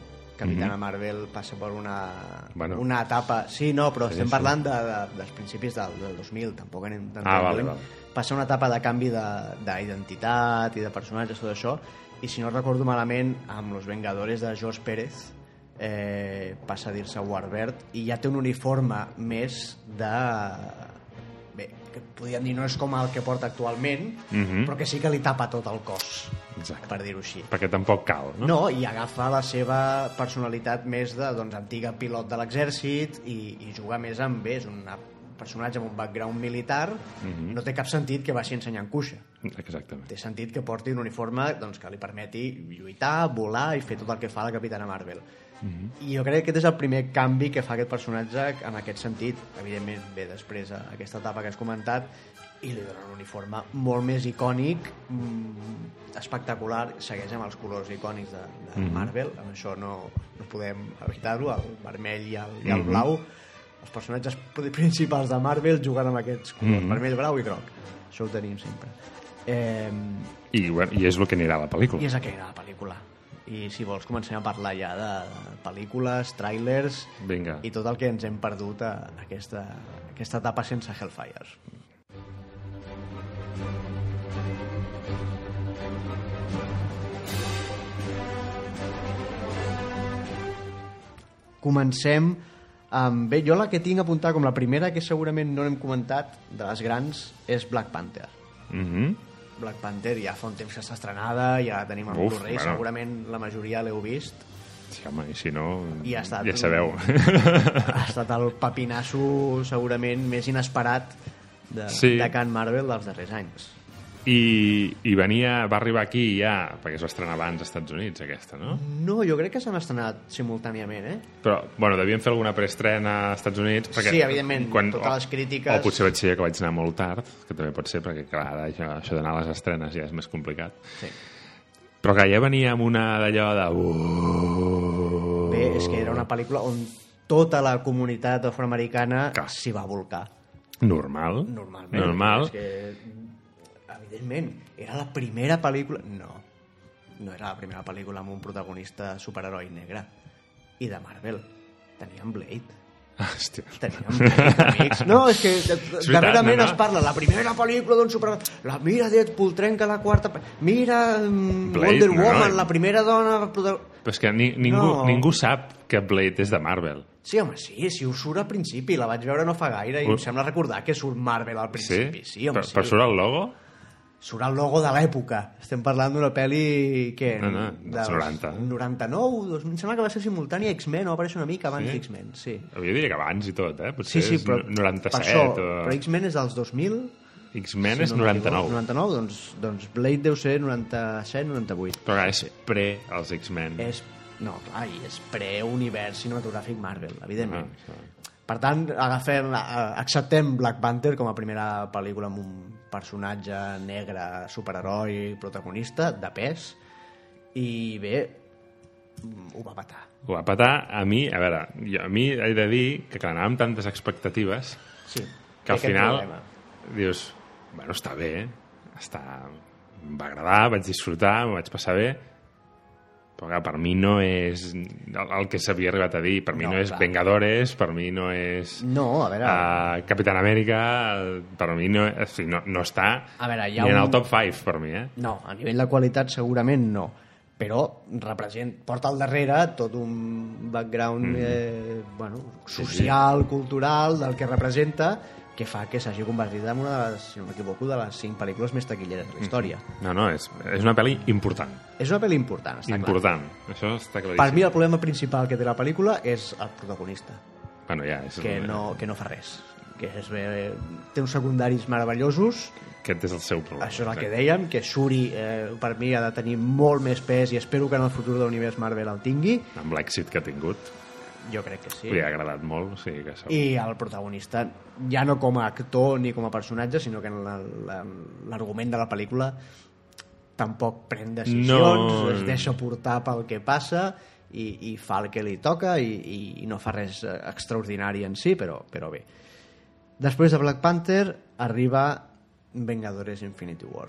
Speaker 1: Capitana Marvel passa per una,
Speaker 2: Mm-hmm. Bueno.
Speaker 1: una etapa... Sí, no, però
Speaker 2: Sí,
Speaker 1: estem
Speaker 2: sí.
Speaker 1: parlant de, de, dels principis del, del 2000, tampoc anem tan
Speaker 2: Ah,
Speaker 1: tan
Speaker 2: vale,
Speaker 1: lluny.
Speaker 2: vale.
Speaker 1: Passa una etapa de canvi de- d'identitat i de personatges, tot això, i si no recordo malament, amb Los Vengadores de George Pérez, eh, passa a dir-se Warbird, i ja té un uniforme més de bé, que podríem dir no és com el que porta actualment,
Speaker 2: Mhm.
Speaker 1: però que sí que li tapa tot el cos,
Speaker 2: Exacte.
Speaker 1: per dir-ho així.
Speaker 2: Perquè tampoc cal, no?
Speaker 1: No, i agafa la seva personalitat més de doncs, antiga pilot de l'exèrcit i, i jugar més amb bé, és un personatge amb un background militar, no té cap sentit que vagi ensenyant cuixa.
Speaker 2: Exactament.
Speaker 1: Té sentit que porti un uniforme doncs, que li permeti lluitar, volar i fer tot el que fa la Capitana Marvel.
Speaker 2: Mhm.
Speaker 1: I jo crec que aquest és el primer canvi que fa aquest personatge en aquest sentit. Evidentment, bé, després a aquesta etapa que has comentat, i li dona un uniforme molt més icònic, mm, espectacular, segueix amb els colors icònics de, de
Speaker 2: Mhm.
Speaker 1: mm -hmm. Marvel, amb això no, no podem evitar-ho, el vermell i el, i el
Speaker 2: Mhm.
Speaker 1: blau. Els personatges pri- principals de Marvel jugant amb aquests colors,
Speaker 2: Mhm.
Speaker 1: vermell, blau i groc. Això ho tenim sempre. Eh,
Speaker 2: I, bueno, I és el que anirà a la pel·lícula.
Speaker 1: i és el que era la pel·lícula. I si vols comencem a parlar ja de pel·lícules, trailers
Speaker 2: Vinga.
Speaker 1: i tot el que ens hem perdut a aquesta, aquesta etapa sense Hellfires. Comencem amb... Bé, jo la que tinc apuntada com la primera, que segurament no n'hem comentat, de les grans, és Black Panther.
Speaker 2: Mhm.
Speaker 1: Black Panther ja fa un temps que està estrenada, ja la tenim en
Speaker 2: Uf,
Speaker 1: Blu-ray,
Speaker 2: bueno.
Speaker 1: segurament la majoria l'heu vist.
Speaker 2: Sí, home, i si no...
Speaker 1: I ha estat
Speaker 2: Ja sabeu.
Speaker 1: Ha estat el papinasso segurament més inesperat de,
Speaker 2: Sí.
Speaker 1: de Can Marvel dels darrers anys.
Speaker 2: I, I venia... Va arribar aquí ja, perquè es va estrenar abans als Estats Units, aquesta, no?
Speaker 1: No, jo crec que s'han estrenat simultàniament, eh?
Speaker 2: Però, bueno, devien fer alguna preestrena als Estats Units. Perquè
Speaker 1: Sí, evidentment, totes les crítiques-
Speaker 2: O potser vaig ser que vaig anar molt tard, que també pot ser, perquè, clar, ara això, això d'anar a les estrenes ja és més complicat.
Speaker 1: Sí.
Speaker 2: Però que ja venia amb una d'allò de... Uh,
Speaker 1: Bé, és que era una pel·lícula on tota la comunitat afroamericana
Speaker 2: Clar.
Speaker 1: s'hi va volcar.
Speaker 2: Normal.
Speaker 1: Normalment.
Speaker 2: Normal.
Speaker 1: És que, evidentment, era la primera pel·lícula... No, no era la primera pel·lícula amb un protagonista superheroi negre. I de Marvel. Teníem Blade.
Speaker 2: Hòstia.
Speaker 1: Teníem Blade, amics. No, és que de-
Speaker 2: veritat,
Speaker 1: darrerament
Speaker 2: no, no.
Speaker 1: es parla la primera pel·lícula d'un superheroi. La mira Deadpool trenca la quarta... pe- Mira mm,
Speaker 2: Blade,
Speaker 1: Wonder
Speaker 2: no, eh. no.
Speaker 1: Woman, la primera dona... prota-
Speaker 2: Però és que ni, ningú,
Speaker 1: No.
Speaker 2: ningú sap que Blade és de Marvel.
Speaker 1: Sí, home, sí, si us surt al principi. La vaig veure no fa gaire i
Speaker 2: Ui.
Speaker 1: em sembla recordar que surt Marvel al principi. Sí, home,
Speaker 2: per,
Speaker 1: sí.
Speaker 2: per surt el logo?
Speaker 1: surt el logo de l'època. Estem parlant d'una pel·li que...
Speaker 2: No, no, dels 90.
Speaker 1: 99, dos, em sembla que va ser simultània X-Men, o apareix una mica abans
Speaker 2: Sí?
Speaker 1: d'X-Men, sí.
Speaker 2: Jo diria que abans i tot, eh? Potser
Speaker 1: Sí, sí,
Speaker 2: és
Speaker 1: però...
Speaker 2: no- 97
Speaker 1: per això, Però
Speaker 2: o...
Speaker 1: X-Men és dels 2000,
Speaker 2: X-Men és
Speaker 1: si no m'equivoco.
Speaker 2: 99.
Speaker 1: 99, doncs, doncs Blade deu ser 97-98.
Speaker 2: Però clar, és pre els X-Men.
Speaker 1: És, no, clar, i és pre-univers cinematogràfic Marvel,
Speaker 2: Ah,
Speaker 1: evidentment.
Speaker 2: clar.
Speaker 1: Per tant, agafem, eh, acceptem Black Panther com a primera pel·lícula amb un personatge negre, superheroi, protagonista, de pes, i bé, mm, ho va matar.
Speaker 2: Ho va petar. A mi, a veure, jo, a mi he de dir que clar, anava amb tantes expectatives
Speaker 1: Sí,
Speaker 2: que al
Speaker 1: Té aquest
Speaker 2: final
Speaker 1: problema.
Speaker 2: dius, bueno, està bé, està... em va agradar, vaig disfrutar, m'ho vaig passar bé, però clar, per mi no és el, el que s'havia arribat a dir, per mi
Speaker 1: No,
Speaker 2: no, és
Speaker 1: clar.
Speaker 2: Vengadores, per mi no és...
Speaker 1: No, a veure...
Speaker 2: Uh, Capitán Amèrica, eh, per mi no, o sigui, no, no està
Speaker 1: A veure, hi
Speaker 2: ni
Speaker 1: ha
Speaker 2: en
Speaker 1: un-
Speaker 2: el top 5 per mi, eh?
Speaker 1: No, a nivell de qualitat segurament no, però represent, porta al darrere tot un background
Speaker 2: Mm.
Speaker 1: eh, bueno, social, cultural, del que representa, que fa que s'hagi convertit en una de les, si no m'equivoco, de les cinc pel·lícules més taquilleres
Speaker 2: Mm.
Speaker 1: de la història.
Speaker 2: No, no, és, és una pel·li important.
Speaker 1: És una pel·li important, està
Speaker 2: important. Això està
Speaker 1: clar.
Speaker 2: claríssim.
Speaker 1: Per mi el problema principal que té la pel·lícula és el protagonista,
Speaker 2: Bueno, ja, és
Speaker 1: que no, que no fa res que és, bé, té uns secundaris meravellosos
Speaker 2: Aquest és el seu problema.
Speaker 1: Això és el que
Speaker 2: Exacte.
Speaker 1: dèiem, que Shuri eh, per mi ha de tenir molt més pes i espero que en el futur de l'univers Marvel el tingui.
Speaker 2: Amb l'èxit que ha tingut,
Speaker 1: Jo crec que sí.
Speaker 2: li ha agradat molt, o sigui que segur.
Speaker 1: I el protagonista, ja no com a actor ni com a personatge, sinó que en la- la- l'argument de la pel·lícula tampoc pren decisions,
Speaker 2: No.
Speaker 1: es deixa portar pel que passa i, i fa el que li toca i, i, i no fa res eh, extraordinari en si, però, però bé. Després de Black Panther arriba Vengadores Infinity War.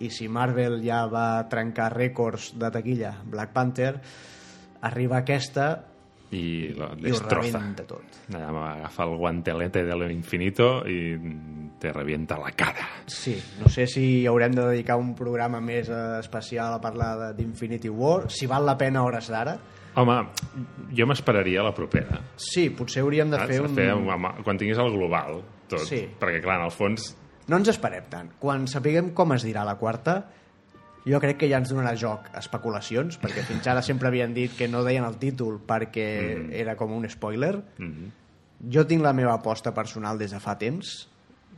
Speaker 1: I si Marvel ja va trencar rècords de taquilla amb Black Panther, arriba aquesta
Speaker 2: I, la
Speaker 1: i ho
Speaker 2: destroza.
Speaker 1: rebenta tot.
Speaker 2: Allà agafa el guantelete de l'infinito i te revienta la cara.
Speaker 1: Sí, no sé si haurem de dedicar un programa més eh, especial a parlar de- d'Infinity War, si val la pena a hores d'ara,
Speaker 2: Home, jo m'esperaria la propera.
Speaker 1: Sí, potser hauríem de
Speaker 2: Saps?
Speaker 1: fer
Speaker 2: A
Speaker 1: un...
Speaker 2: Ah, Fer un... home, Quan tinguis el global, tot.
Speaker 1: Sí.
Speaker 2: Perquè, clar, en el fons...
Speaker 1: No ens esperem tant. Quan sapiguem com es dirà la quarta, jo crec que ja ens donarà joc a especulacions, perquè fins ara sempre havien dit que no deien el títol perquè era com un spoiler. Jo tinc la meva aposta personal des de fa temps,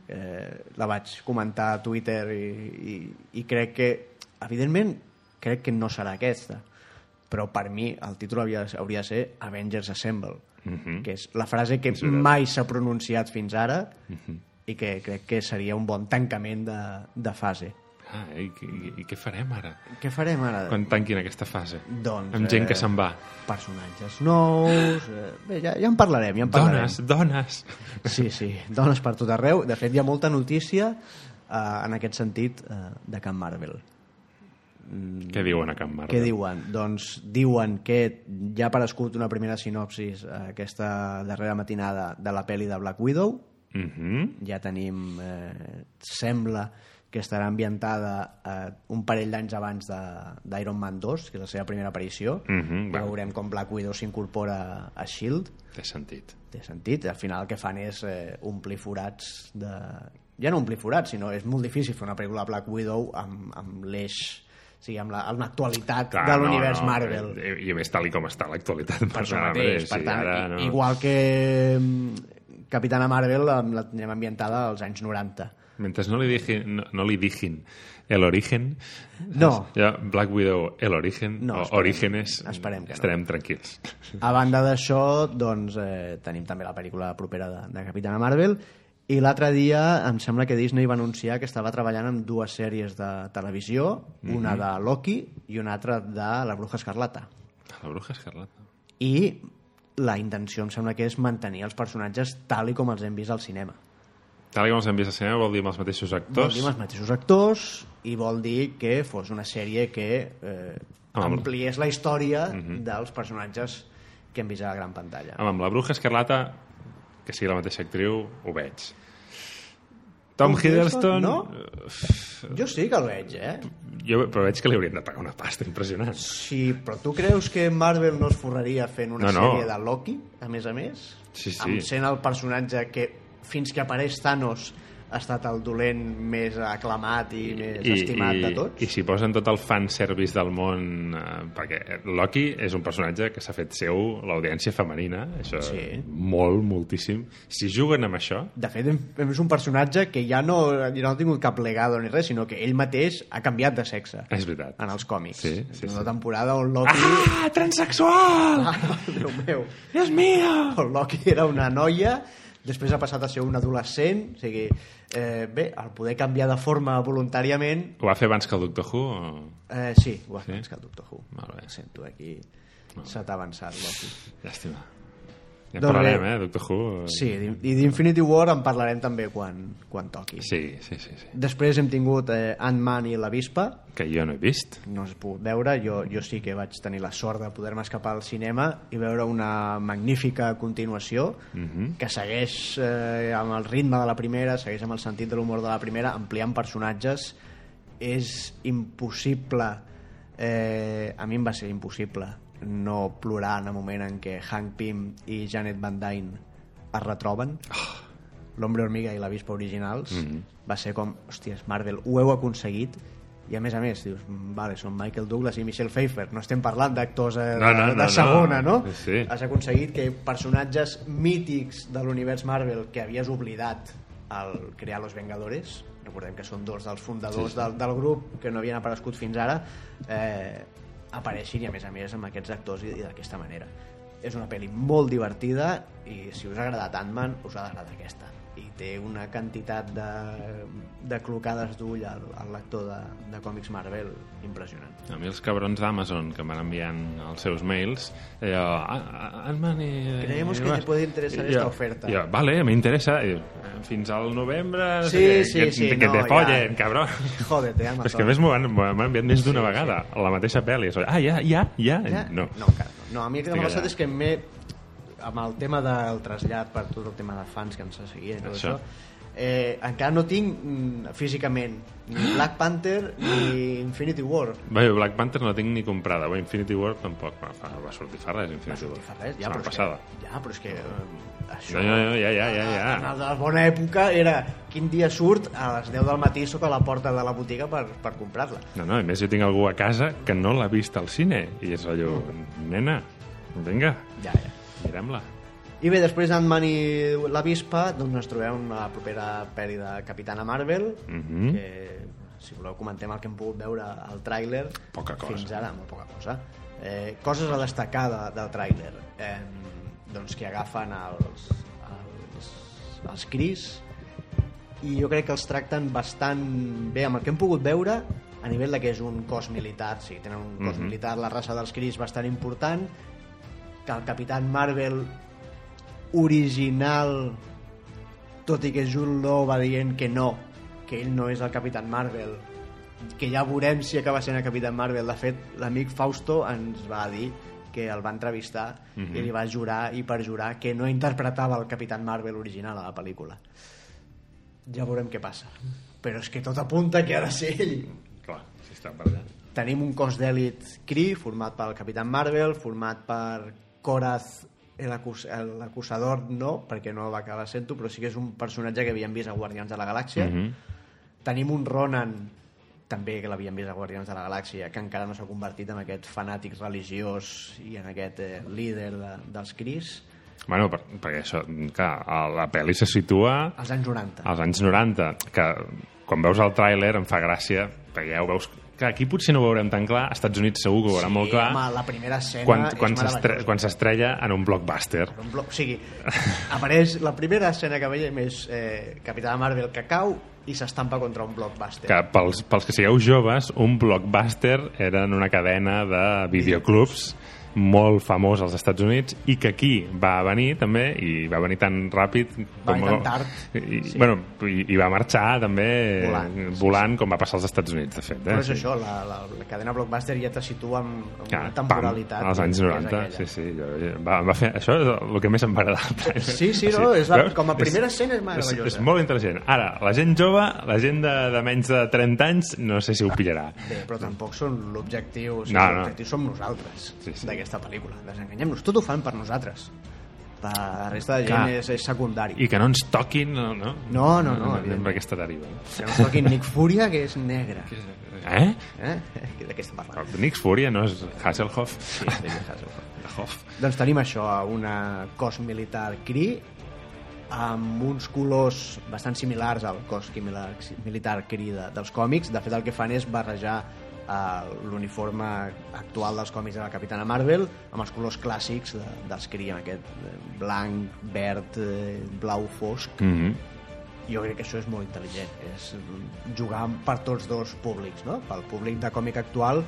Speaker 1: eh, la vaig comentar a Twitter i, i, i crec que, evidentment, crec que no serà aquesta, però per mi el títol havia, hauria de ser Avengers Assemble,
Speaker 2: Mhm.
Speaker 1: que és la frase que mai s'ha pronunciat fins ara
Speaker 2: Mhm.
Speaker 1: i que crec que seria un bon tancament de, de fase.
Speaker 2: Ah, i, i, i què farem ara?
Speaker 1: Què farem ara?
Speaker 2: Quan tanquin aquesta fase?
Speaker 1: Doncs,
Speaker 2: Amb gent
Speaker 1: eh,
Speaker 2: que se'n va.
Speaker 1: Personatges nous... Eh, bé, ja, ja en parlarem, ja en parlarem.
Speaker 2: Dones, dones!
Speaker 1: Sí, sí, dones per tot arreu. De fet, hi ha molta notícia eh, en aquest sentit eh, de Camp Marvel.
Speaker 2: Què diuen a Can
Speaker 1: Mm.
Speaker 2: Marta?
Speaker 1: Què diuen? Doncs diuen que ja ha aparegut una primera sinopsis eh, aquesta darrera matinada de la pel·li de Black Widow.
Speaker 2: Mhm.
Speaker 1: Ja tenim... Eh, sembla que estarà ambientada eh, un parell d'anys abans de- d'Iron Man 2, que és la seva primera aparició.
Speaker 2: Mhm,
Speaker 1: ja
Speaker 2: va.
Speaker 1: veurem com Black Widow s'incorpora a S.H.I.E.L.D
Speaker 2: Té sentit.
Speaker 1: té sentit. Al final el que fan és eh, omplir forats de... Ja no omplir forats, sinó és molt difícil fer una pel·lícula Black Widow amb, amb l'eix, o sigui, amb la- amb l'actualitat la,
Speaker 2: Clar,
Speaker 1: de l'univers no, no, Marvel.
Speaker 2: I, I a més, tal i com està l'actualitat.
Speaker 1: Per això
Speaker 2: Marvel,
Speaker 1: mateix,
Speaker 2: sí,
Speaker 1: per tant,
Speaker 2: ara
Speaker 1: i- igual que mm, Capitana Marvel em la tenim ambientada als anys 90.
Speaker 2: Mentre no li digin, no, no li digin el origen,
Speaker 1: No.
Speaker 2: ja Black Widow el origen,
Speaker 1: No,
Speaker 2: no, o
Speaker 1: esperem-
Speaker 2: orígenes,
Speaker 1: esperem que no.
Speaker 2: estarem tranquils.
Speaker 1: A banda d'això, doncs, eh, tenim també la pel·lícula propera de, de Capitana Marvel i l'altre dia em sembla que Disney va anunciar que estava treballant en dues sèries de televisió, una de Loki i una altra de La Bruja Escarlata.
Speaker 2: La bruja escarlata.
Speaker 1: I la intenció em sembla que és mantenir els personatges tal i com els hem vist al cinema.
Speaker 2: Tal com els hem vist al cinema, vol dir amb els mateixos
Speaker 1: Vol
Speaker 2: actors.
Speaker 1: dir amb els mateixos actors i vol dir que fos una sèrie que eh,
Speaker 2: Amb el-
Speaker 1: ampliés la història dels personatges que hem vist a la gran pantalla.
Speaker 2: Home, amb la bruja escarlata, que sigui la mateixa actriu, ho veig. Tom
Speaker 1: Tom Hiddleston,
Speaker 2: Hiddleston...
Speaker 1: no?
Speaker 2: eh,
Speaker 1: Jo sí que el veig, eh?
Speaker 2: Jo, però veig que li haurien de pagar una pasta impressionant.
Speaker 1: Sí, però tu creus que Marvel no es forraria fent una
Speaker 2: No, no.
Speaker 1: sèrie de Loki, a més a més?
Speaker 2: Sí, sí.
Speaker 1: Amb sent el personatge que, fins que apareix Thanos, ha estat el dolent més aclamat i, més estimat de tots?
Speaker 2: I si posen tot el fanservice del món... Eh, perquè Loki és un personatge que s'ha fet seu l'audiència femenina, això
Speaker 1: Sí.
Speaker 2: molt, moltíssim. Si juguen amb això...
Speaker 1: De fet, hem- és un personatge que ja no, ja no ha tingut cap legado ni res, sinó que ell mateix ha canviat de sexe
Speaker 2: És veritat.
Speaker 1: en els còmics.
Speaker 2: Sí, sí,
Speaker 1: en
Speaker 2: sí.
Speaker 1: una temporada on Loki...
Speaker 2: Ah, transexual!
Speaker 1: Ah, Déu meu!
Speaker 2: Dios mío!
Speaker 1: el Loki era una noia després ha passat a ser un adolescent o sigui, eh, bé, el poder canviar de forma voluntàriament
Speaker 2: Ho va fer abans que el Doctor Who? O...
Speaker 1: eh, sí, ho has
Speaker 2: Sí?
Speaker 1: sí? que el Doctor Who
Speaker 2: Molt bé.
Speaker 1: sento aquí s'ha avançat Loki
Speaker 2: Llàstima. Ja en
Speaker 1: Doncs
Speaker 2: parlarem,
Speaker 1: bé.
Speaker 2: eh, Doctor Who?
Speaker 1: sí, i d'Infinity War en parlarem també quan, quan toqui
Speaker 2: Sí, sí, sí. sí.
Speaker 1: després hem tingut eh, Ant-Man i la Vispa
Speaker 2: Que jo no he vist.
Speaker 1: no es pogut veure, jo, jo sí que vaig tenir la sort de poder-me escapar al cinema i veure una magnífica continuació que segueix eh, amb el ritme de la primera, segueix amb el sentit de l'humor de la primera, ampliant personatges és impossible eh, a mi em va ser impossible no plorar en el moment en què Hank Pym i Janet Van Dyne es retroben l'Hombre Hormiga i la Vispa originals
Speaker 2: Mhm.
Speaker 1: va ser com, hòsties, Marvel, ho heu aconseguit i a més a més, dius, "Mm, vale, són Michael Douglas i Michelle Pfeiffer, no estem parlant d'actors eh, de,
Speaker 2: No, no,
Speaker 1: de
Speaker 2: no, no.
Speaker 1: segona, no?
Speaker 2: Sí.
Speaker 1: Has aconseguit que personatges mítics de l'univers Marvel que havies oblidat al crear Los Vengadores, recordem que són dos dels fundadors
Speaker 2: Sí, sí.
Speaker 1: Del, del grup que no havien aparegut fins ara, eh, apareixin i a més a més amb aquests actors i, i d'aquesta manera. És una pel·li molt divertida i si us ha agradat Ant-Man, us ha d'agradar aquesta. I té una quantitat de, de clocades d'ull al, al lector de, de còmics Marvel impressionant.
Speaker 2: A mi els cabrons d'Amazon que em van enviant els seus mails, eh, allò... Ant-Man i...
Speaker 1: Creemos
Speaker 2: i
Speaker 1: que te
Speaker 2: vas".
Speaker 1: puede interesar
Speaker 2: I
Speaker 1: esta
Speaker 2: jo-
Speaker 1: oferta.
Speaker 2: Jo, vale, m'interessa. I jo, Fins al novembre... no sé
Speaker 1: Sí,
Speaker 2: què,
Speaker 1: sí,
Speaker 2: que,
Speaker 1: sí,
Speaker 2: Que, que
Speaker 1: no,
Speaker 2: te
Speaker 1: ja.
Speaker 2: follen, cabron.
Speaker 1: Jódete, Amazon.
Speaker 2: Però és que a més m'ho van- m'han enviat més d'una vegada, a la mateixa pel·li. És allò, Ah, ja, ja, ja?
Speaker 1: Ja?
Speaker 2: No.
Speaker 1: no, encara no. no a mi el que m'ha passat
Speaker 2: Estic allà.
Speaker 1: és que m'he amb el tema del trasllat per tot el tema de fans que ens seguien i tot
Speaker 2: Això.
Speaker 1: això, Eh, encara no tinc mm, físicament ni Black Panther ni Infinity War.
Speaker 2: Bé, Black Panther no la tinc ni comprada, o Infinity War tampoc. Va, fa- va sortir fa res, Infinity
Speaker 1: sortir
Speaker 2: War.
Speaker 1: fa res, ja,
Speaker 2: Setmana
Speaker 1: però és
Speaker 2: passada.
Speaker 1: Que, ja, però és que... eh, Això,
Speaker 2: No, no, no, ja, ja, ja,
Speaker 1: En
Speaker 2: ja.
Speaker 1: el de la bona època era quin dia surt a les 10 del matí sota la porta de la botiga per, per comprar-la.
Speaker 2: No, no, a més jo tinc algú a casa que no l'ha vist al cine i és allò, nena, vinga,
Speaker 1: Ja, ja.
Speaker 2: mirem-la.
Speaker 1: I bé, després d'Ant-Man i l'Avispa doncs ens trobem a la propera pel·li de Capitana Marvel
Speaker 2: Mhm.
Speaker 1: que si voleu comentem el que hem pogut veure al tràiler
Speaker 2: Poca cosa.
Speaker 1: fins ara, molt poca cosa eh, coses a destacar de, del tràiler eh, doncs que agafen els, els, els Cris i jo crec que els tracten bastant bé amb el que hem pogut veure a nivell de que és un cos militar sí, tenen un cos
Speaker 2: Mhm.
Speaker 1: militar, la raça dels Cris bastant important que el Capitán Marvel original tot i que Jude Law va dient que no, que ell no és el Capitán Marvel que ja veurem si acaba sent el Capitán Marvel de fet l'amic Fausto ens va dir que el va entrevistar i li va jurar i perjurar que no interpretava el Capitán Marvel original a la pel·lícula ja veurem què passa però és que tot apunta que ha de ser ell
Speaker 2: Clar, si està per allà.
Speaker 1: Tenim un cos d'èlit CRI format pel Capitán Marvel, format per Koraz el acus- el l'acusador no, perquè no va acabar sent-ho, però sí que és un personatge que havíem vist a Guardians de la Galàxia.
Speaker 2: Mhm.
Speaker 1: Tenim un Ronan, també que l'havíem vist a Guardians de la Galàxia, que encara no s'ha convertit en aquest fanàtic religiós i en aquest eh, líder de, dels Cris,
Speaker 2: Bueno, per, perquè això, clar, a la pel·li se situa
Speaker 1: als anys 90.
Speaker 2: als anys 90, que quan veus el tràiler em fa gràcia, perquè ja ho veus... Que aquí potser no ho veurem tan clar, als Estats Units segur que ho veurà molt clar,
Speaker 1: Eh, Home, la primera escena
Speaker 2: quan,
Speaker 1: és
Speaker 2: quan s'estre-
Speaker 1: meravellosa.
Speaker 2: quan s'estrella en un blockbuster.
Speaker 1: Per un bloc. O sigui, apareix la primera escena que veiem és eh, Capità Marvel que cau i s'estampa contra un blockbuster.
Speaker 2: Que pels, pels que sigueu joves, un blockbuster era en una cadena de videoclubs molt famós als Estats Units i que aquí va venir també i va venir tan ràpid
Speaker 1: Va venir tan tard.
Speaker 2: i, sí. bueno, i, i va marxar també volant,
Speaker 1: Volant.
Speaker 2: volant com va passar als Estats Units de fet eh?
Speaker 1: Però és
Speaker 2: Sí.
Speaker 1: això, la, la, la cadena blockbuster ja te situa en, en
Speaker 2: Ah,
Speaker 1: una temporalitat.
Speaker 2: Pam, als anys
Speaker 1: que és
Speaker 2: 90,
Speaker 1: aquella.
Speaker 2: sí, sí. Jo, jo- va, em va fer, això és el que més em va agradar.
Speaker 1: Sí, sí, no, és la-
Speaker 2: veus?
Speaker 1: com a primera escena és meravellosa.
Speaker 2: És, és molt intel·ligent. Ara, la gent jove, la gent de, de menys de 30 anys, no sé si ho pillarà.
Speaker 1: Bé, però tampoc són l'objectiu, o sigui,
Speaker 2: No,
Speaker 1: no,
Speaker 2: no.
Speaker 1: l'objectiu som nosaltres
Speaker 2: Sí, sí.
Speaker 1: d'aquesta pel·lícula. Desenganyem-nos, tot ho fan per nosaltres. La resta de
Speaker 2: Clar.
Speaker 1: gent és, és secundari.
Speaker 2: I que no ens toquin, no? No,
Speaker 1: No, no, no,
Speaker 2: Amb
Speaker 1: evidentment.
Speaker 2: aquesta deriva.
Speaker 1: Que no toquin Nick Furia, que és negre.
Speaker 2: Eh?
Speaker 1: Eh? De què estem parlant?
Speaker 2: Nix Furia no és Hasselhoff. Sí, Hoff.
Speaker 1: Doncs tenim això, una cos militar cri amb uns colors bastant similars al cos quimi- militar cri de, dels còmics. De fet, el que fan és barrejar eh, l'uniforme actual dels còmics de la Capitana Marvel amb els colors clàssics de, dels cri, amb aquest eh, blanc, verd, eh, blau fosc.
Speaker 2: Mm -hmm.
Speaker 1: Jo crec que això és molt intel·ligent, és mm, jugar per tots dos públics, no? Pel públic de còmic actual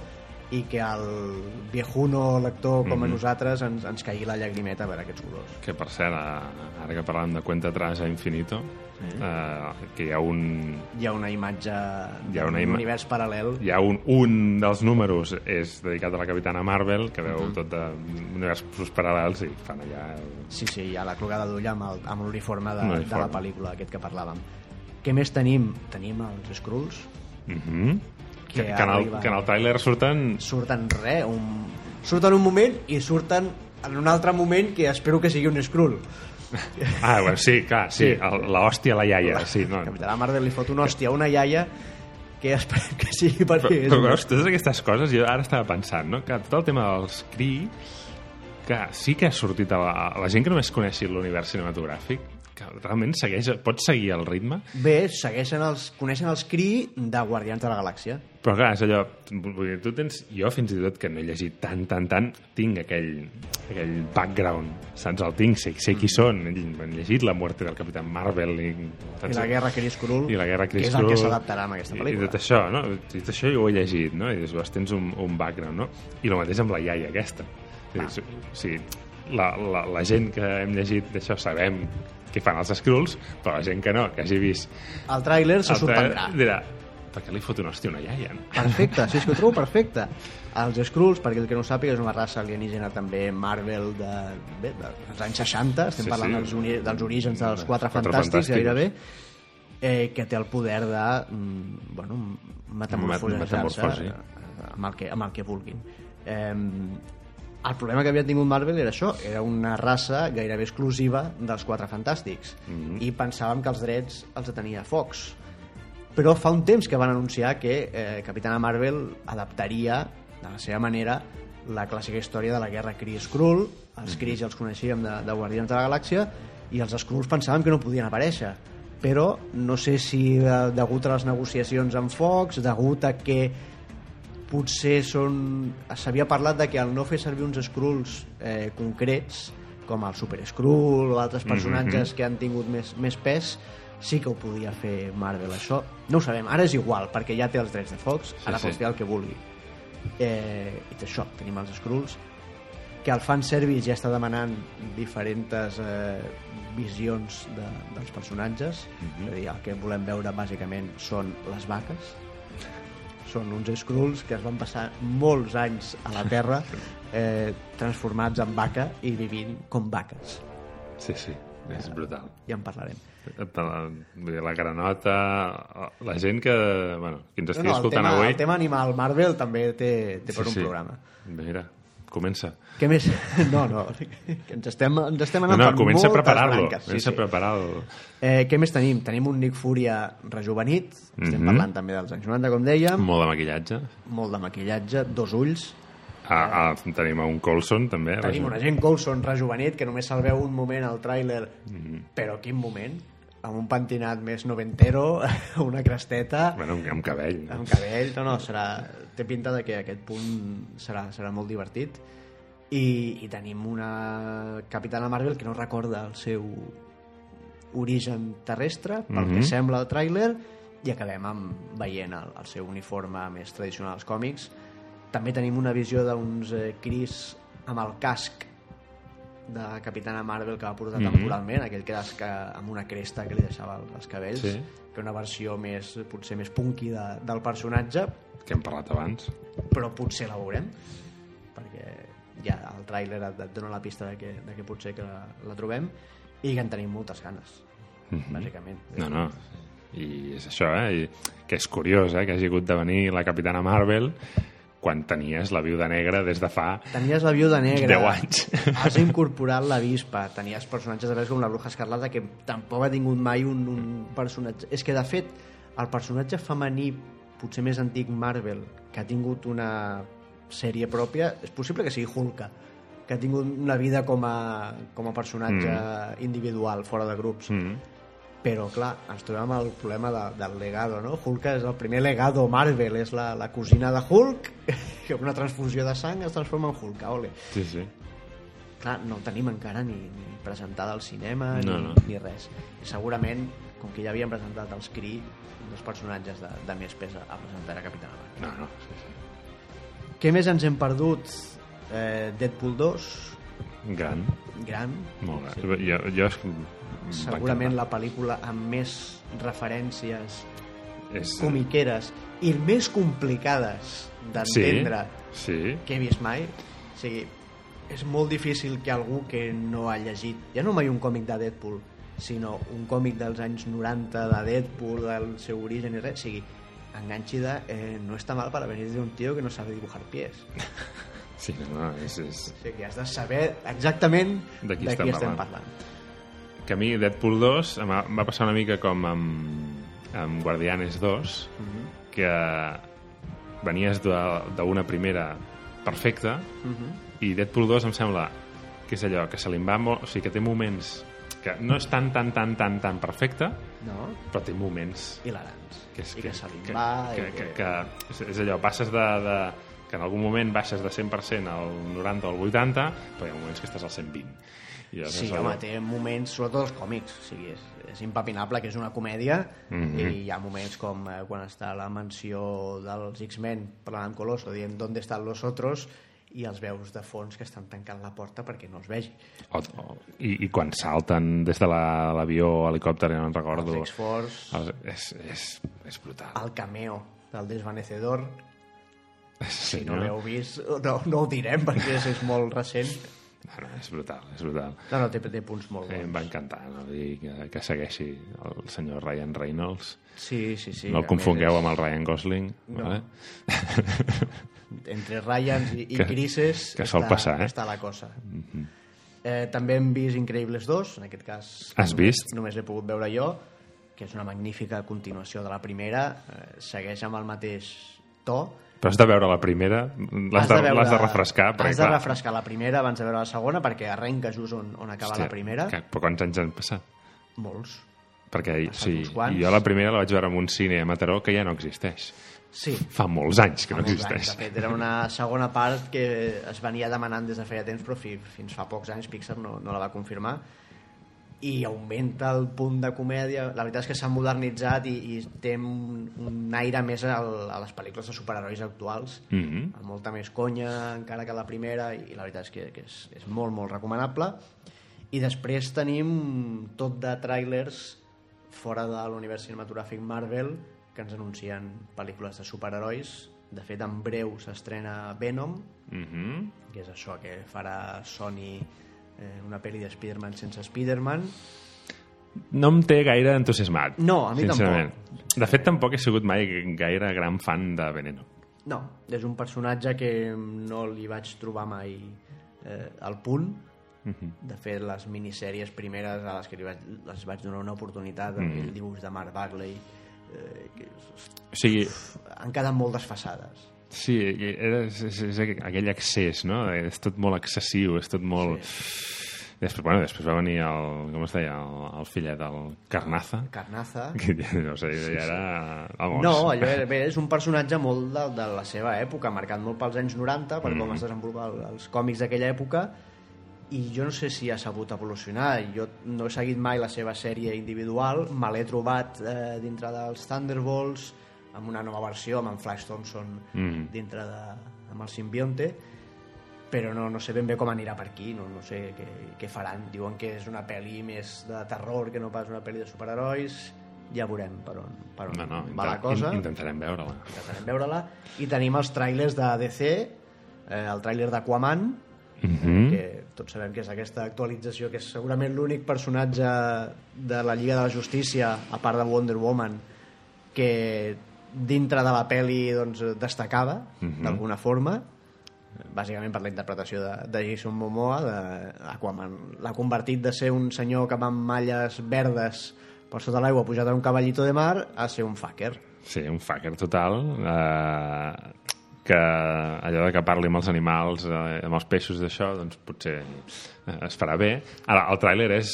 Speaker 1: i que el viejuno lector com
Speaker 2: Mhm.
Speaker 1: a nosaltres ens, ens caigui la llagrimeta a veure aquests colors.
Speaker 2: Que per cert, eh, ara que parlàvem de Cuenta Atrás a Infinito, eh, que hi ha un,
Speaker 1: Hi ha una imatge
Speaker 2: Hi ha
Speaker 1: d'un
Speaker 2: una ima-
Speaker 1: univers paral·lel.
Speaker 2: hi ha un, un dels números és dedicat a la Capitana Marvel, que
Speaker 1: Mhm.
Speaker 2: veu tot de universos paral·lels i fan allà... el-
Speaker 1: Sí, sí, hi ha la clogada d'ull amb el- amb l'uniforme de,
Speaker 2: L'uniforme.
Speaker 1: de la pel·lícula aquest que parlàvem. Què més tenim? Tenim els Skrulls,
Speaker 2: Mhm.
Speaker 1: Que
Speaker 2: que, que, en el,
Speaker 1: arriba.
Speaker 2: que en el tràiler surten...
Speaker 1: surten re, un... surten un moment i surten en un altre moment que espero que sigui un Skrull.
Speaker 2: Ah, bueno, sí, clar, sí,
Speaker 1: Sí.
Speaker 2: el- la hòstia a la iaia, sí. No.
Speaker 1: Capità Marvel li fot una hòstia a una iaia que esperem que sigui
Speaker 2: Però,
Speaker 1: perquè
Speaker 2: però
Speaker 1: és...
Speaker 2: veus, totes aquestes coses, jo ara estava pensant, no? que tot el tema dels Cree, que sí que ha sortit a la, a la gent que només coneixi l'univers cinematogràfic, que realment segueix, pot seguir el ritme,
Speaker 1: Bé, segueixen els, coneixen els Cree de Guardians de la Galàxia.
Speaker 2: Però clar, és allò, vull dir, tu tens, jo fins i tot que no he llegit tant, tant, tant, tinc aquell, aquell background, saps? El tinc, sé, sé qui són, he llegit La muerte del Capitán Marvel i,
Speaker 1: Mm. I la guerra Cree Skrull,
Speaker 2: i la guerra
Speaker 1: que
Speaker 2: Chris
Speaker 1: és el que s'adaptarà en aquesta
Speaker 2: I, I
Speaker 1: pel·lícula.
Speaker 2: tot això, no? I tot això jo ho he llegit, no? I dius, "Ostres, tens un, un background, no? I el mateix amb la iaia aquesta. I dius, o sigui, la, la, la gent que hem llegit d'això sabem què fan els Skrulls, però la gent que no, que hagi vist...
Speaker 1: El tràiler se
Speaker 2: el trailer,
Speaker 1: sorprendrà.
Speaker 2: Dirà, per què li fot un hòstia a una iaia? No?
Speaker 1: Perfecte, sí, és que ho trobo perfecte. Els Skrulls, perquè el que no ho sàpiga, és una raça alienígena també Marvel de, bé, dels anys 60, estem
Speaker 2: Sí,
Speaker 1: sí, parlant
Speaker 2: sí.
Speaker 1: sí. Dels, uni, dels orígens dels
Speaker 2: Dels
Speaker 1: Quatre
Speaker 2: Quatre
Speaker 1: Fantàstics,
Speaker 2: Fantàstics.
Speaker 1: gairebé, eh, que té el poder de mm, bueno, metamorfosejar-se
Speaker 2: metamorfosi.
Speaker 1: eh, amb, el que, amb el que vulguin. Eh, el problema que havia tingut Marvel era això, era una raça gairebé exclusiva dels quatre fantàstics mm -hmm. i pensàvem que els drets els tenia Fox. Però fa un temps que van anunciar que eh, Capitana Marvel adaptaria de la seva manera la clàssica història de la guerra Kree-Skrull els Kree ja els coneixíem de, de Guardians de la Galàxia i els Skrulls pensàvem que no podien aparèixer però no sé si eh, degut a les negociacions amb Fox degut a que potser són... s'havia parlat de que al no fer servir uns Skrulls eh, concrets, com el Super Skrull o altres personatges mm -hmm. que han tingut més, més pes, sí que ho podia fer Marvel, això. No ho sabem, ara és igual, perquè ja té els drets de Fox, sí, ara
Speaker 2: sí.
Speaker 1: sí. pot fer el que vulgui. Eh, I té això, tenim els Skrulls, que el fanservice ja està demanant diferents eh, visions de, dels personatges, mm -hmm. és a dir, el que volem veure bàsicament són les vaques, són uns Skrulls que es van passar molts anys a la Terra eh, transformats en vaca i vivint com vaques.
Speaker 2: Sí, sí, és brutal.
Speaker 1: Ja en parlarem.
Speaker 2: De La, vull dir, la granota, la gent que, bueno, que ens estigui
Speaker 1: el,
Speaker 2: escoltant
Speaker 1: tema,
Speaker 2: avui...
Speaker 1: el tema animal Marvel també té, té per
Speaker 2: Sí,
Speaker 1: un
Speaker 2: sí.
Speaker 1: programa.
Speaker 2: Mira, comença.
Speaker 1: Què més? No, no, que ens estem, ens estem
Speaker 2: No,
Speaker 1: anant
Speaker 2: no,
Speaker 1: per
Speaker 2: comença a
Speaker 1: moltes
Speaker 2: preparar-lo.
Speaker 1: branques.
Speaker 2: Comença a preparar-lo.
Speaker 1: Eh, què més tenim? Tenim un Nick Furia rejuvenit, estem
Speaker 2: Mhm.
Speaker 1: parlant també dels anys 90, com dèiem,
Speaker 2: Molt de maquillatge.
Speaker 1: molt de maquillatge, dos ulls,
Speaker 2: Ah, ah, tenim a un Colson, també.
Speaker 1: Tenim un agent Coulson rejuvenit que només se'l veu un moment al tràiler, però quin moment? Amb un pentinat més noventero, una cresteta,
Speaker 2: Bueno, amb- amb cabell. no?
Speaker 1: amb cabell... No, no, serà, té pinta de que aquest punt serà, serà molt divertit. I, I tenim una Capitana Marvel que no recorda el seu origen terrestre, pel que sembla el tràiler, i acabem amb, veient el, el seu uniforme més tradicional als còmics. També tenim una visió d'uns eh, Chris amb el casc de Capitana Marvel que va portar temporalment, aquell que des- que amb una cresta que li deixava el- els cabells,
Speaker 2: Sí.
Speaker 1: que una versió més, potser més punky de, del personatge,
Speaker 2: Que hem parlat abans.
Speaker 1: però potser la veurem, perquè ja el tràiler et, et dona la pista de que, de que potser que la, la trobem i que en tenim moltes ganes, bàsicament.
Speaker 2: No, no. I és això, eh? I que és curiós, eh? Que hagi hagut de venir la Capitana Marvel quan tenies la viuda negra des de fa...
Speaker 1: Tenies la viuda negra.
Speaker 2: Deu anys.
Speaker 1: Has incorporat la vispa. Tenies personatges de vegades com la bruja escarlata que tampoc ha tingut mai un, un personatge... És que, de fet, el personatge femení potser més antic Marvel que ha tingut una sèrie pròpia, és possible que sigui Hulka que ha tingut una vida com a, com a personatge mm. individual fora de grups mm. però clar, ens trobem amb el problema de, del legado, no? Hulk és el primer legado Marvel, és la, la cosina de Hulk que amb una transfusió de sang es transforma en Hulk, ole
Speaker 2: Sí, sí.
Speaker 1: clar, no el tenim encara ni, ni presentada al cinema
Speaker 2: No,
Speaker 1: no, ni,
Speaker 2: no.
Speaker 1: no. ni res. I segurament, com que ja havien presentat els Cree, un dels personatges de, de més pes a a presentar a Capitana Marvel.
Speaker 2: Ah, No, no, sí, sí.
Speaker 1: Què més ens hem perdut? Eh, Deadpool 2,
Speaker 2: Gran.
Speaker 1: gran,
Speaker 2: Molt gran. Sí. Jo, jo és...
Speaker 1: segurament la pel·lícula amb més referències
Speaker 2: és...
Speaker 1: comiqueres i més complicades d'entendre
Speaker 2: Sí, sí.
Speaker 1: que he vist mai. O sigui, és molt difícil que algú que no ha llegit, ja no mai un còmic de Deadpool, sinó un còmic dels anys 90 de Deadpool, del seu origen i res, o sigui, enganxi de eh, no està mal para venir de un tío que no sabe dibujar pies.
Speaker 2: Sí, no, no, és, és...
Speaker 1: O sigui, has de saber exactament de qui, estem, estem parlant.
Speaker 2: que a mi Deadpool 2 em va em va passar una mica com amb, amb Guardianes 2 mm
Speaker 1: Mhm.
Speaker 2: -hmm. que venies de- d'una primera perfecta mm
Speaker 1: Mhm.
Speaker 2: -hmm. i Deadpool 2 em sembla que és allò que se li en va molt, o sigui que té moments que no és tan tan tan tan tan perfecta
Speaker 1: No?
Speaker 2: però té moments
Speaker 1: Hilarants.
Speaker 2: que és,
Speaker 1: I que, se li
Speaker 2: que,
Speaker 1: va...
Speaker 2: que,
Speaker 1: i
Speaker 2: que, que, és, és allò, passes de, de que en algun moment baixes de 100% al 90 o al 80 però hi ha moments que estàs al 120 I llavors
Speaker 1: Sí,
Speaker 2: és
Speaker 1: home,
Speaker 2: allò-
Speaker 1: té moments, sobretot els còmics, o sigui, és, és impepinable que és una comèdia
Speaker 2: Mhm.
Speaker 1: i hi ha moments com eh, quan està a la mansió dels X-Men parlant amb Colosso, dient d'on estan los otros i els veus de fons que estan tancant la porta perquè no els vegi.
Speaker 2: O, o, i, I quan salten des de la- l'avió o helicòpter, ja no en recordo.
Speaker 1: Els X-Force,
Speaker 2: Els- és, és, és brutal.
Speaker 1: el cameo del desvanecedor,
Speaker 2: Sí,
Speaker 1: si no l'heu vist, no, no ho direm perquè és, és molt recent,
Speaker 2: Ah, No, no, és brutal, és brutal.
Speaker 1: No, no, té, té punts molt
Speaker 2: Eh, em
Speaker 1: bons.
Speaker 2: va encantar no? dir que, que segueixi el senyor Ryan Reynolds.
Speaker 1: Sí, sí, sí.
Speaker 2: no
Speaker 1: a
Speaker 2: el confongueu
Speaker 1: més
Speaker 2: amb el Ryan Gosling,
Speaker 1: No.
Speaker 2: vale?
Speaker 1: és- Entre Ryans i, i
Speaker 2: Que-
Speaker 1: Crises
Speaker 2: que sol
Speaker 1: està,
Speaker 2: passar, eh? Mhm.
Speaker 1: està la cosa. eh, també hem vist Increïbles 2, en aquest cas...
Speaker 2: Has
Speaker 1: només-
Speaker 2: vist?
Speaker 1: Només l'he pogut veure jo, que és una magnífica continuació de la primera. Eh, segueix amb el mateix to.
Speaker 2: Però has de veure la primera, l'has
Speaker 1: Has
Speaker 2: de,
Speaker 1: veure-
Speaker 2: l'has de refrescar. perquè,
Speaker 1: Has de
Speaker 2: clar,
Speaker 1: refrescar la primera abans de veure la segona, perquè arrenca just on, on acaba
Speaker 2: hòstia,
Speaker 1: la primera.
Speaker 2: Que, però quants anys han passat?
Speaker 1: Molts.
Speaker 2: Perquè
Speaker 1: passat
Speaker 2: sí,
Speaker 1: uns quants.
Speaker 2: jo la primera la vaig veure en un cine a Mataró que ja no existeix.
Speaker 1: Sí.
Speaker 2: Fa molts anys que no
Speaker 1: Molts anys,
Speaker 2: existeix.
Speaker 1: De fet, era una segona part que es venia demanant des de feia temps, però fi, fins fa pocs anys Pixar no, no la va confirmar i augmenta el punt de comèdia la veritat és que s'ha modernitzat i, i té un, un aire més al, a les pel·lícules de superherois actuals
Speaker 2: Mhm.
Speaker 1: amb molta més conya encara que la primera i la veritat és que, que és, és molt molt recomanable i després tenim tot de trailers fora de l'univers cinematogràfic Marvel que ens anuncien pel·lícules de superherois de fet en breu s'estrena Venom
Speaker 2: Mhm.
Speaker 1: que és això que farà Sony eh, una pel·li de Spider-Man sense Spider-Man
Speaker 2: No em té gaire entusiasmat.
Speaker 1: No, a mi
Speaker 2: sincerament.
Speaker 1: tampoc.
Speaker 2: De fet, tampoc he sigut mai gaire gran fan de Veneno.
Speaker 1: no, és un personatge que no li vaig trobar mai eh, al punt de fet les minissèries primeres a les que li vaig, les vaig donar una oportunitat amb el dibuix de Mark Bagley eh, que és-
Speaker 2: O sigui,
Speaker 1: han quedat molt desfasades
Speaker 2: Sí, era, és, és, és aquell accés, no? És tot molt excessiu, és tot molt... Sí. Després, bueno, després va venir el, com es deia, el, el fillet del Carnaza,
Speaker 1: Carnaza
Speaker 2: que ja, no sé, ja era... Vamos.
Speaker 1: No, allò era, bé, és un personatge molt de, de la seva època, marcat molt pels anys 90, per mm. com es desenvolupaven els còmics d'aquella època, i jo no sé si ha sabut evolucionar. Jo no he seguit mai la seva sèrie individual, me l'he trobat eh, dintre dels Thunderbolts, amb una nova versió, amb en Flash Thompson, mm. dintre de, amb el simbionte, però no, no sé ben bé com anirà per aquí, no, no sé què, què faran. Diuen que és una pel·li més de terror que no pas una pel·li de superherois, ja veurem per on, per on
Speaker 2: No, no,
Speaker 1: va la
Speaker 2: inten-
Speaker 1: cosa.
Speaker 2: in- intentarem veure-la.
Speaker 1: Intentarem veure-la. I tenim els trailers de DC, eh, el tràiler d'Aquaman,
Speaker 2: Mm
Speaker 1: que tots sabem que és aquesta actualització, que és segurament l'únic personatge de la Lliga de la Justícia, a part de Wonder Woman, que dintre de la pel·li doncs, destacava, d'alguna forma, bàsicament per la interpretació de, de Jason Momoa, de Aquaman. L'ha convertit de ser un senyor que va amb malles verdes per sota l'aigua pujat a un cavallito de mar a ser un fucker.
Speaker 2: Sí, un fucker total, eh, que allò de que parli amb els animals, eh, amb els peixos d'això, doncs potser eh, es farà bé. Ara, el tràiler és,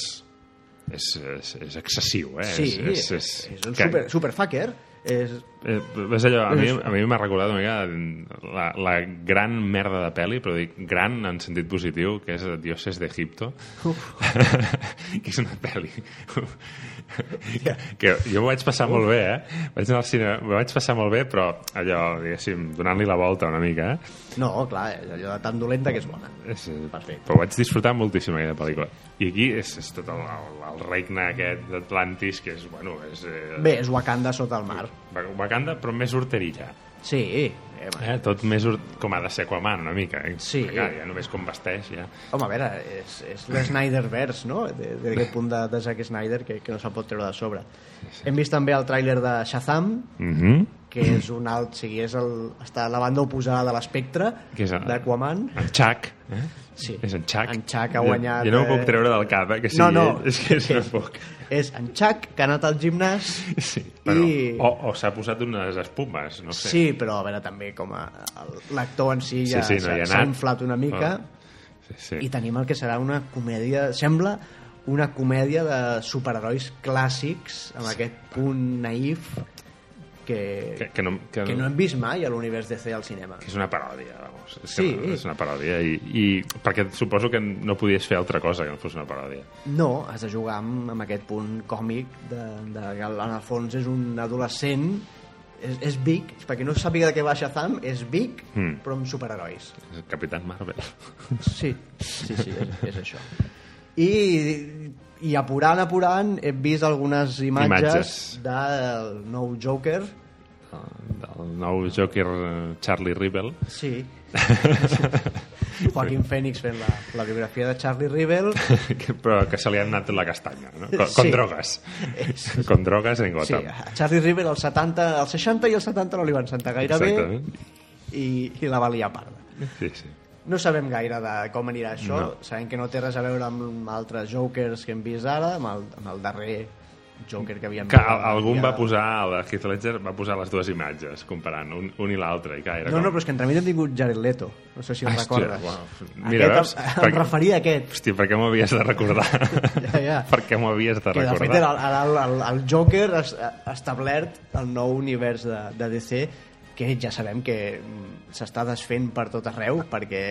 Speaker 2: és, és, és excessiu, eh?
Speaker 1: Sí, és, és, és un super, superfucker. És,
Speaker 2: Eh, és allò, a mi, a mi m'ha recordat una mica la, la gran merda de pel·li, però dic gran en sentit positiu, que és Dioses d'Egipto, que és una pel·li que, que jo ho vaig passar molt bé, eh? Vaig anar al cinema, ho vaig passar molt bé, però allò, diguéssim, donant-li la volta una mica, eh?
Speaker 1: no, clar, és allò de tan dolenta que és bona.
Speaker 2: És, eh,
Speaker 1: Perfecte.
Speaker 2: però ho vaig disfrutar moltíssim aquella pel·lícula. I aquí és, és tot el, el, el regne aquest d'Atlantis, que és, bueno, és... Eh,
Speaker 1: Bé, és Wakanda sota el mar.
Speaker 2: Wakanda, però més horterilla.
Speaker 1: Sí, eh, home.
Speaker 2: Eh, tot més ur- com ha de ser Aquaman, una mica. Eh?
Speaker 1: Sí.
Speaker 2: Perquè, Clar, ja només com vesteix, ja.
Speaker 1: Home, a veure, és, és l'Snyderverse, no? De- de- D'aquest punt de, de Zack Snyder que, que no se'l pot treure de sobre. Hem vist també el tràiler de Shazam,
Speaker 2: Mm -hmm.
Speaker 1: que és un alt, o sigui, és el, està a la banda oposada de l'espectre
Speaker 2: Que és el-
Speaker 1: d'Aquaman.
Speaker 2: En Chuck, eh?
Speaker 1: Sí.
Speaker 2: És en Chuck.
Speaker 1: En Chuck ha guanyat,
Speaker 2: Jo, jo no ho
Speaker 1: eh,
Speaker 2: puc treure del cap, eh? Que sigui
Speaker 1: No, no.
Speaker 2: ell. És que és no puc.
Speaker 1: És en Chuck, que ha anat al gimnàs.
Speaker 2: Sí. Bueno,
Speaker 1: I-
Speaker 2: O, o s'ha posat unes espumes, no sé.
Speaker 1: Sí, però a veure, també com a el- l'actor en si ja
Speaker 2: Sí,
Speaker 1: s'ha
Speaker 2: sí, no hi ha
Speaker 1: s'ha
Speaker 2: anat.
Speaker 1: inflat una mica.
Speaker 2: Ah. Sí, sí.
Speaker 1: i tenim el que serà una comèdia, sembla una comèdia de superherois clàssics amb aquest punt naïf que,
Speaker 2: Que, que, no, que,
Speaker 1: que no hem vist mai a l'univers DC al cinema.
Speaker 2: que és una paròdia, vamos. És,
Speaker 1: Sí.
Speaker 2: que és una paròdia. I, I perquè suposo que no podies fer altra cosa que no fos una paròdia.
Speaker 1: No, has de jugar amb, amb aquest punt còmic de, de, que en el fons és un adolescent és, és Big, perquè no sàpiga de què va Shazam, és Big,
Speaker 2: Mm.
Speaker 1: però amb superherois.
Speaker 2: És el Capitán Marvel.
Speaker 1: Sí, sí, sí, és, és això. I, I apurant, apurant, he vist algunes imatges,
Speaker 2: Imatges.
Speaker 1: del nou Joker.
Speaker 2: El, el nou Joker eh, Charlie Rivel.
Speaker 1: Sí. Joaquín Phoenix fent la, la biografia de Charlie Rivel.
Speaker 2: Que- però que se li ha anat la castanya, no? Con, con
Speaker 1: Sí.
Speaker 2: drogues. Con drogues
Speaker 1: Sí,
Speaker 2: en Gotham.
Speaker 1: a Charlie Rivel als 70, als 60 i als 70 no li van sentar gaire
Speaker 2: Exactament.
Speaker 1: bé i, i la va liar parda.
Speaker 2: Sí, sí.
Speaker 1: No sabem gaire de com anirà això,
Speaker 2: No.
Speaker 1: no. sabem que no té res a veure amb altres jokers que hem vist ara, amb el, amb el darrer joker que havíem
Speaker 2: Que
Speaker 1: vist.
Speaker 2: al- algun va posar, a la Heath Ledger va posar les dues imatges, comparant un, un i l'altre, i que era
Speaker 1: No, no,
Speaker 2: com...
Speaker 1: però és que entremig hem tingut Jared Leto, no sé si el
Speaker 2: Hòstia,
Speaker 1: recordes.
Speaker 2: uau. Mira,
Speaker 1: Mira,
Speaker 2: veus?
Speaker 1: aquest, em, em
Speaker 2: Perquè-
Speaker 1: referia a aquest,
Speaker 2: Hòstia, per què m'ho havies de recordar?
Speaker 1: Ja, ja.
Speaker 2: Per què m'ho havies de
Speaker 1: que de
Speaker 2: recordar?
Speaker 1: fet era el, el, el, el Joker es, ha establert el nou univers de, de DC que ja sabem que mm, s'està desfent per tot arreu perquè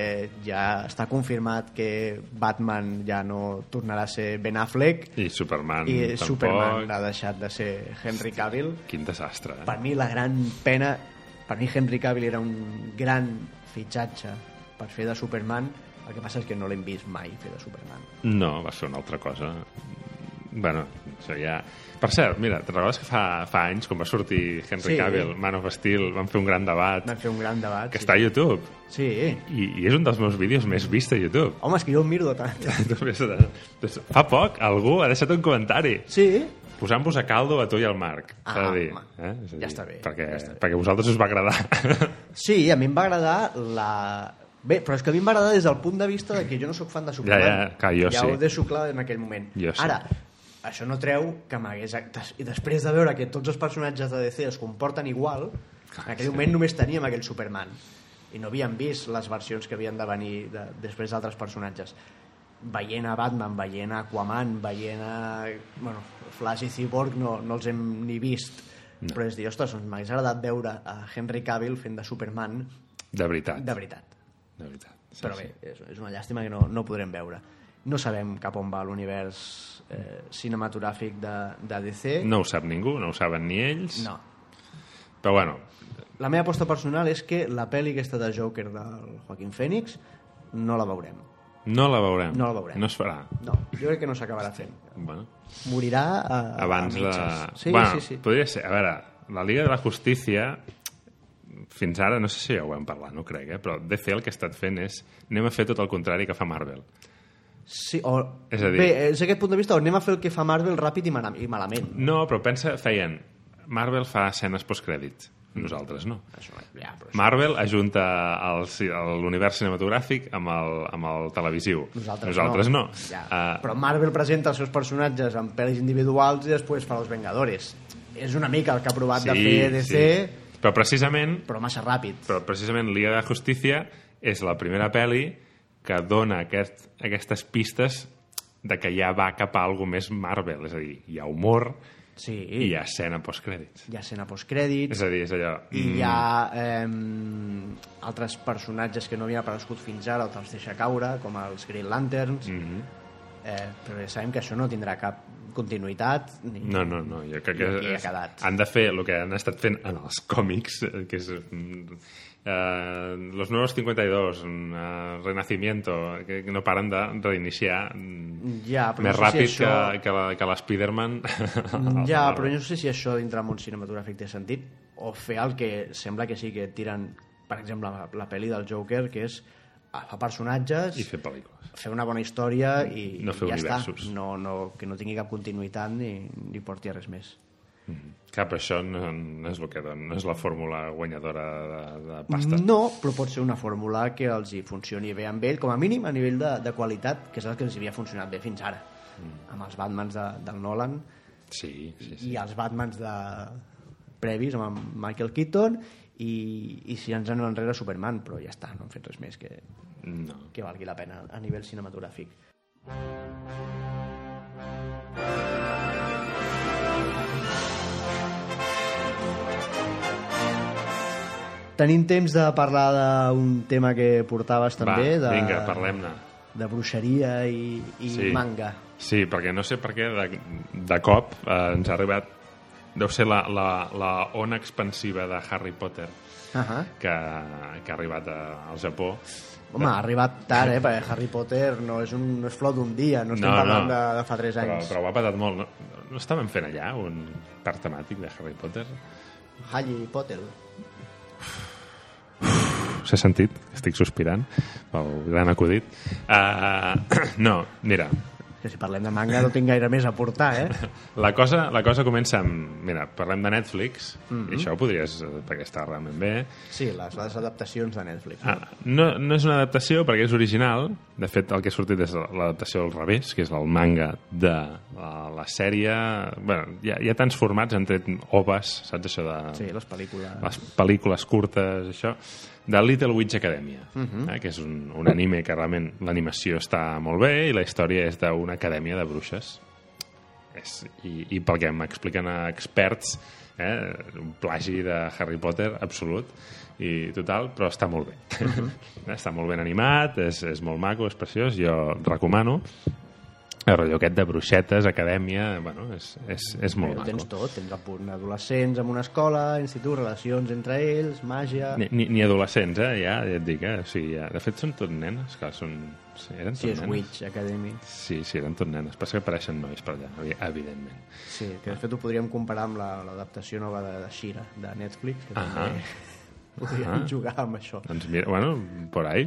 Speaker 1: ja està confirmat que Batman ja no tornarà a ser Ben Affleck
Speaker 2: I Superman
Speaker 1: i
Speaker 2: tampoc.
Speaker 1: Superman ha deixat de ser Henry Cavill
Speaker 2: Quin desastre, eh?
Speaker 1: per mi la gran pena per mi Henry Cavill era un gran fitxatge per fer de Superman el que passa és que no l'hem vist mai fer de Superman
Speaker 2: No, va fer una altra cosa. Bueno, això ja... Per cert, mira, te'n recordes que fa, fa anys, quan va sortir Henry
Speaker 1: Sí.
Speaker 2: Cavill, Man of Steel, van fer un gran debat,
Speaker 1: van fer un gran debat
Speaker 2: que
Speaker 1: sí.
Speaker 2: està a YouTube,
Speaker 1: sí.
Speaker 2: i, i és un dels meus vídeos més vist a YouTube.
Speaker 1: Home, és que jo em miro de tant. en tant.
Speaker 2: Només de- doncs, fa poc algú ha deixat un comentari
Speaker 1: Sí?
Speaker 2: posant-vos a caldo a tu i al Marc. s'ha
Speaker 1: Ah,
Speaker 2: de dir,
Speaker 1: home.
Speaker 2: eh? És a dir,
Speaker 1: Ja està bé,
Speaker 2: Perquè,
Speaker 1: ja està bé.
Speaker 2: perquè a vosaltres us va agradar.
Speaker 1: Sí, a mi em va agradar la... Bé, però és que a mi em va agradar des del punt de vista de que jo no sóc fan de Superman.
Speaker 2: Ja, ja, clar, jo
Speaker 1: ja
Speaker 2: sí.
Speaker 1: ho deixo clar en aquell moment.
Speaker 2: Jo sí.
Speaker 1: Ara, això no treu que m'hagués... des- I després de veure que tots els personatges de DC es comporten igual, en aquell
Speaker 2: sí.
Speaker 1: moment només teníem aquell Superman. I no havíem vist les versions que havien de venir de, després d'altres personatges. Veient a Batman, veient a Aquaman, veient a... Bueno, Flash i Cyborg no, no els hem ni vist. No. Però és dir, ostres, doncs m'hagués agradat veure a Henry Cavill fent de Superman
Speaker 2: De veritat.
Speaker 1: de veritat.
Speaker 2: De veritat. Sí,
Speaker 1: Però
Speaker 2: sí.
Speaker 1: bé, és, és una llàstima que no, no podrem veure. No sabem cap on va l'univers eh, cinematogràfic de, de DC.
Speaker 2: No ho sap ningú, no ho saben ni ells.
Speaker 1: no.
Speaker 2: Però bueno,
Speaker 1: La meva aposta personal és que la pel·li aquesta de Joker del Joaquín Phoenix no la veurem.
Speaker 2: no la veurem.
Speaker 1: No la veurem.
Speaker 2: No es farà.
Speaker 1: No, jo crec que no s'acabarà fent.
Speaker 2: Bueno,
Speaker 1: Morirà a,
Speaker 2: abans
Speaker 1: a
Speaker 2: de...
Speaker 1: mitges. Sí,
Speaker 2: bueno,
Speaker 1: sí, sí.
Speaker 2: podria ser... A veure, la Liga de la Justícia fins ara, no sé si ja ho hem parlat, no crec, eh? però de fer el que ha estat fent és anem a fer tot el contrari que fa Marvel.
Speaker 1: sí o...
Speaker 2: És a dir-
Speaker 1: Bé, és aquest punt de vista on anem a fer el que fa Marvel ràpid i, mala- i malament.
Speaker 2: No, però pensa, feien... Marvel fa escenes postcrèdits,
Speaker 1: Mm.
Speaker 2: nosaltres no.
Speaker 1: Això, ja, però això.
Speaker 2: Marvel ajunta el ci- el- l'univers cinematogràfic amb el, amb el televisiu.
Speaker 1: Nosaltres,
Speaker 2: Nosaltres no.
Speaker 1: Ja.
Speaker 2: Eh,
Speaker 1: Però Marvel presenta els seus personatges en pel·lis individuals i després fa els Vengadores. És una mica el que ha provat de fer DC,
Speaker 2: sí. Però precisament
Speaker 1: però massa ràpid.
Speaker 2: però precisament Liga de la Justícia és la primera pe·li que dona aquest, aquestes pistes de que ja va cap a alguna més Marvel, és a dir, hi ha humor
Speaker 1: Sí,
Speaker 2: i hi ha escena postcrèdits.
Speaker 1: hi ha escena postcrèdits,
Speaker 2: És a dir, és allò...
Speaker 1: i hi ha eh, altres personatges que no havien aparegut fins ara o te'ls deixa caure, com els Green Lanterns mm
Speaker 2: Mhm.
Speaker 1: -hmm. eh, però ja sabem que això no tindrà cap continuïtat ni...
Speaker 2: No, no, no, jo crec que
Speaker 1: I aquí ha
Speaker 2: és-
Speaker 1: quedat.
Speaker 2: han de fer el que han estat fent en els còmics, eh, que és mm, eh, Los Nuevos 52, eh, Renacimiento, que no paren de reiniciar mm,
Speaker 1: Ja, però
Speaker 2: més
Speaker 1: no sé si
Speaker 2: ràpid
Speaker 1: això-
Speaker 2: que, que, la, que l'Spiderman.
Speaker 1: Mm, ja, però jo no sé si això dintre del món cinematogràfic té sentit o fer el que sembla que sí que tiren per exemple la, la pel·li del Joker que és ah, fa personatges
Speaker 2: I fer pel·lícules.
Speaker 1: fer una bona història i
Speaker 2: No fer
Speaker 1: ja
Speaker 2: universos.
Speaker 1: està no, no, que no tingui cap continuïtat ni, ni porti a res més
Speaker 2: Clar, però això no, no és el que dona, no és la fórmula guanyadora de, de pasta.
Speaker 1: No, però pot ser una fórmula que els hi funcioni bé amb ell, com a mínim a nivell de, de qualitat, que és el que els havia funcionat bé fins ara. Mm. Amb els Batmans de, del Nolan
Speaker 2: Sí, sí, sí.
Speaker 1: i els Batmans de previs amb en Michael Keaton i, i si ens anem enrere Superman, però ja està, no han fet res més que,
Speaker 2: No.
Speaker 1: que valgui la pena a nivell cinematogràfic. Tenim temps de parlar d'un tema que portaves també, de,
Speaker 2: Va, vinga, parlem-ne.
Speaker 1: de bruixeria i, i
Speaker 2: Sí.
Speaker 1: manga.
Speaker 2: Sí, perquè no sé per què de, de cop eh, ens ha arribat... Deu ser la, la, la ona expansiva de Harry Potter
Speaker 1: Uh -huh.
Speaker 2: que, que ha arribat a, al Japó.
Speaker 1: Home, ha arribat tard, eh? Perquè Harry Potter no és, un, no és flor d'un dia, no estem
Speaker 2: No, no.
Speaker 1: parlant De, de fa 3
Speaker 2: Però,
Speaker 1: anys.
Speaker 2: però ho ha patat molt. No, no estaven fent allà un parc temàtic de Harry Potter?
Speaker 1: Harry Potter.
Speaker 2: S'ha sentit? Estic sospirant pel gran acudit. Uh, no, mira,
Speaker 1: Que si parlem de manga no tinc gaire més a portar, eh?
Speaker 2: la cosa, la cosa comença amb... Mira, parlem de Netflix, i això ho podries... eh, perquè està realment bé.
Speaker 1: Sí, les, les adaptacions de Netflix.
Speaker 2: Ah, no, no és una adaptació perquè és original. De fet, el que ha sortit és l'adaptació al revés, que és el manga de la, la sèrie... bueno, hi, ha, hi ha tants formats, han tret oves, saps això de...
Speaker 1: Sí, les pel·lícules.
Speaker 2: les pel·lícules curtes, això, de Little Witch Academia, eh, que és un, un anime que realment l'animació està molt bé i la història és d'una acadèmia de bruixes. És, i, I pel que m'expliquen experts, eh, un plagi de Harry Potter absolut i total, però està molt bé. Eh, està molt ben animat, és, és molt maco, és preciós, jo el recomano. El rotllo aquest de bruixetes, acadèmia, bueno, és, és, és molt
Speaker 1: Ho
Speaker 2: maco.
Speaker 1: tens tot, tens el punt adolescents amb una escola, institut, relacions entre ells, màgia...
Speaker 2: Ni, ni, ni adolescents, eh? Ja, ja et dic, eh? O sigui, ja. De fet, són tot nenes, clar, són... Sí, eren tot
Speaker 1: Sí, és
Speaker 2: nenes.
Speaker 1: Witch Academy.
Speaker 2: Sí, sí, eren tot nenes. Passa que apareixen nois per allà, evi- evidentment.
Speaker 1: Sí, que de fet ho podríem comparar amb la- l'adaptació la, nova de, de Shira, de Netflix, que
Speaker 2: Ah.
Speaker 1: també podríem
Speaker 2: Ah.
Speaker 1: jugar amb això.
Speaker 2: Doncs mira, bueno, por ahí.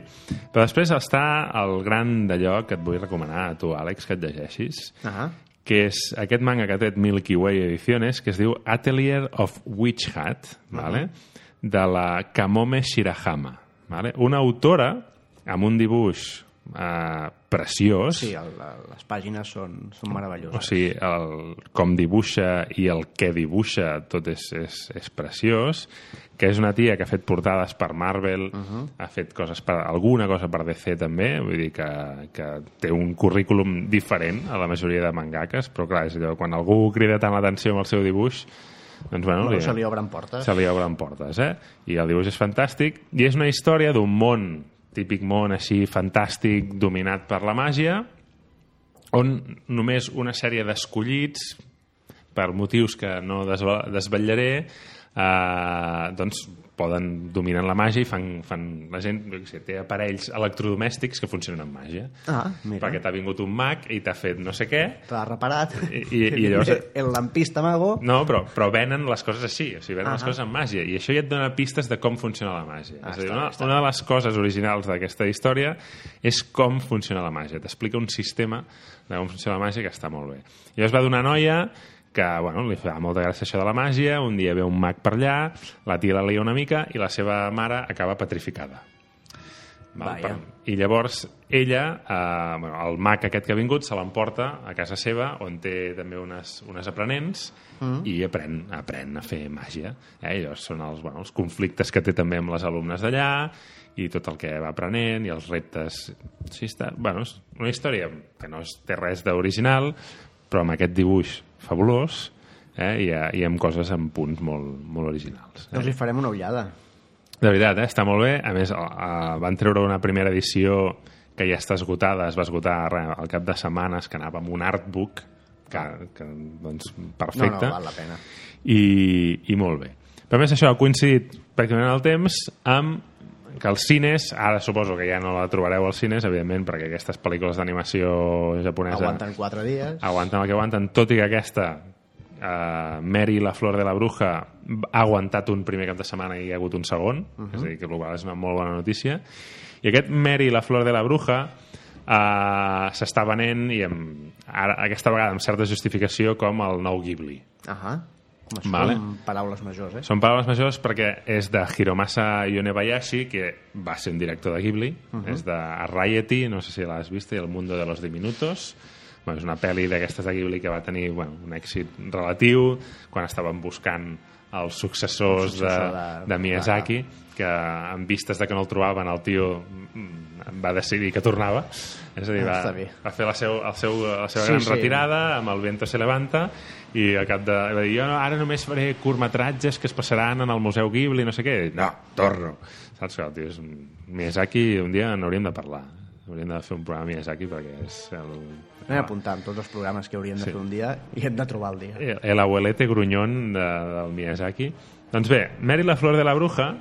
Speaker 2: Però després està el gran d'allò que et vull recomanar a tu, Àlex, que et llegeixis,
Speaker 1: Ah,
Speaker 2: que és aquest manga que ha tret Milky Way Ediciones, que es diu Atelier of Witch Hat, vale? de la Kamome Shirahama. Vale? Una autora amb un dibuix eh, preciós,
Speaker 1: sí, el, la- les pàgines són, són
Speaker 2: O
Speaker 1: meravelloses.
Speaker 2: sigui, el, com dibuixa i el que dibuixa tot és, és, és preciós, que és una tia que ha fet portades per Marvel, ha fet coses per, alguna cosa per DC també, vull dir que, que té un currículum diferent a la majoria de mangakes, però clar, és allò, quan algú crida tant l'atenció amb el seu dibuix, doncs bueno...
Speaker 1: Bueno, se li obren portes.
Speaker 2: Se li obren portes, eh? I el dibuix és fantàstic. I és una història d'un món, típic món així fantàstic, dominat per la màgia, on només una sèrie d'escollits, per motius que no desva- desvetllaré, eh, doncs poden dominar la màgia i fan, fan la gent, jo què sé, té aparells electrodomèstics que funcionen amb màgia.
Speaker 1: Ah, mira,
Speaker 2: Perquè t'ha vingut un mag i t'ha fet no sé què,
Speaker 1: t'ha reparat. "Eh,
Speaker 2: I- i- i llavors- Mm.
Speaker 1: El lampista mago...
Speaker 2: no, però, però venen les coses així, o sigui, venen uh -huh. les
Speaker 1: Ahà.
Speaker 2: coses amb màgia, i això ja et dona pistes de com funciona la màgia.
Speaker 1: Ah,
Speaker 2: Ah, és a dir,
Speaker 1: està
Speaker 2: una,
Speaker 1: bé, està
Speaker 2: una de les coses originals d'aquesta història és com funciona la màgia. T'explica un sistema de com funciona la màgia que està molt bé. I llavors va d'una noia que, bueno, li fa molta gràcia això de la màgia, un dia ve un mag per allà, la tia la lia una mica i la seva mare acaba petrificada. Val,
Speaker 1: Vaja.
Speaker 2: per- I llavors ella, eh, bueno, el mag aquest que ha vingut, se l'emporta a casa seva, on té també unes, unes aprenents, mm. i aprèn, aprèn a fer màgia. Eh? I llavors són els, bueno, els conflictes que té també amb les alumnes d'allà, i tot el que va aprenent, i els reptes... Sí, està... Bueno, és una història que no es- té res d'original, però amb aquest dibuix fabulós, eh? I, a- i amb coses amb punts molt, molt originals.
Speaker 1: Doncs li farem una ullada.
Speaker 2: De veritat, eh? està molt bé. A més, a, a, van treure una primera edició que ja està esgotada, es va esgotar re, al cap de setmanes, que anava amb un artbook, que, que doncs,
Speaker 1: No,
Speaker 2: perfecte,
Speaker 1: no, val la pena.
Speaker 2: i, i molt bé. Però a més això ha coincidit pràcticament en el temps amb que els cines, ara suposo que ja no la trobareu als cines, evidentment, perquè aquestes pel·lícules d'animació japonesa
Speaker 1: Aguanten quatre dies.
Speaker 2: aguanten el que aguanten, tot i que aquesta eh, Mary la flor de la bruja ha aguantat un primer cap de setmana i hi ha hagut un segon, uh -huh. és a dir, que el qual és una molt bona notícia i aquest Mary la flor de la bruja eh, s'està venent i amb, ara, aquesta vegada amb certa justificació com el nou Ghibli
Speaker 1: Ahà. Home, són
Speaker 2: Vale.
Speaker 1: paraules majors, eh?
Speaker 2: són paraules majors perquè és de Hiromasa Yonebayashi, que va ser un director de Ghibli. Uh
Speaker 1: Mhm.
Speaker 2: -huh. És de Arriety, no sé si l'has vist, i El mundo de los diminutos. Bueno, és una pel·li d'aquestes de Ghibli que va tenir bueno, un èxit relatiu quan estaven buscant els successors de,
Speaker 1: successor
Speaker 2: de,
Speaker 1: de-
Speaker 2: de Miyazaki, que en vistes de que no el trobaven, el tio mm, va decidir que tornava. És a dir,
Speaker 1: Ah,
Speaker 2: va,
Speaker 1: està bé.
Speaker 2: va fer la, seu, el seu, la seva
Speaker 1: Sí,
Speaker 2: gran
Speaker 1: sí.
Speaker 2: retirada temporada amb el Vento se levanta i al cap de... Va dir, jo no, ara només faré curtmetratges que es passaran en el Museu Ghibli, no sé què. No, torno. Saps que el tio és un Miyazaki, un dia n'hauríem de parlar. Hauríem de fer un programa Miyazaki perquè és el...
Speaker 1: Anem apuntant tots els programes que hauríem de fer un dia i hem de trobar el dia.
Speaker 2: El, el abuelete grunyón de, del Miyazaki. Doncs bé, Mary la flor de la bruja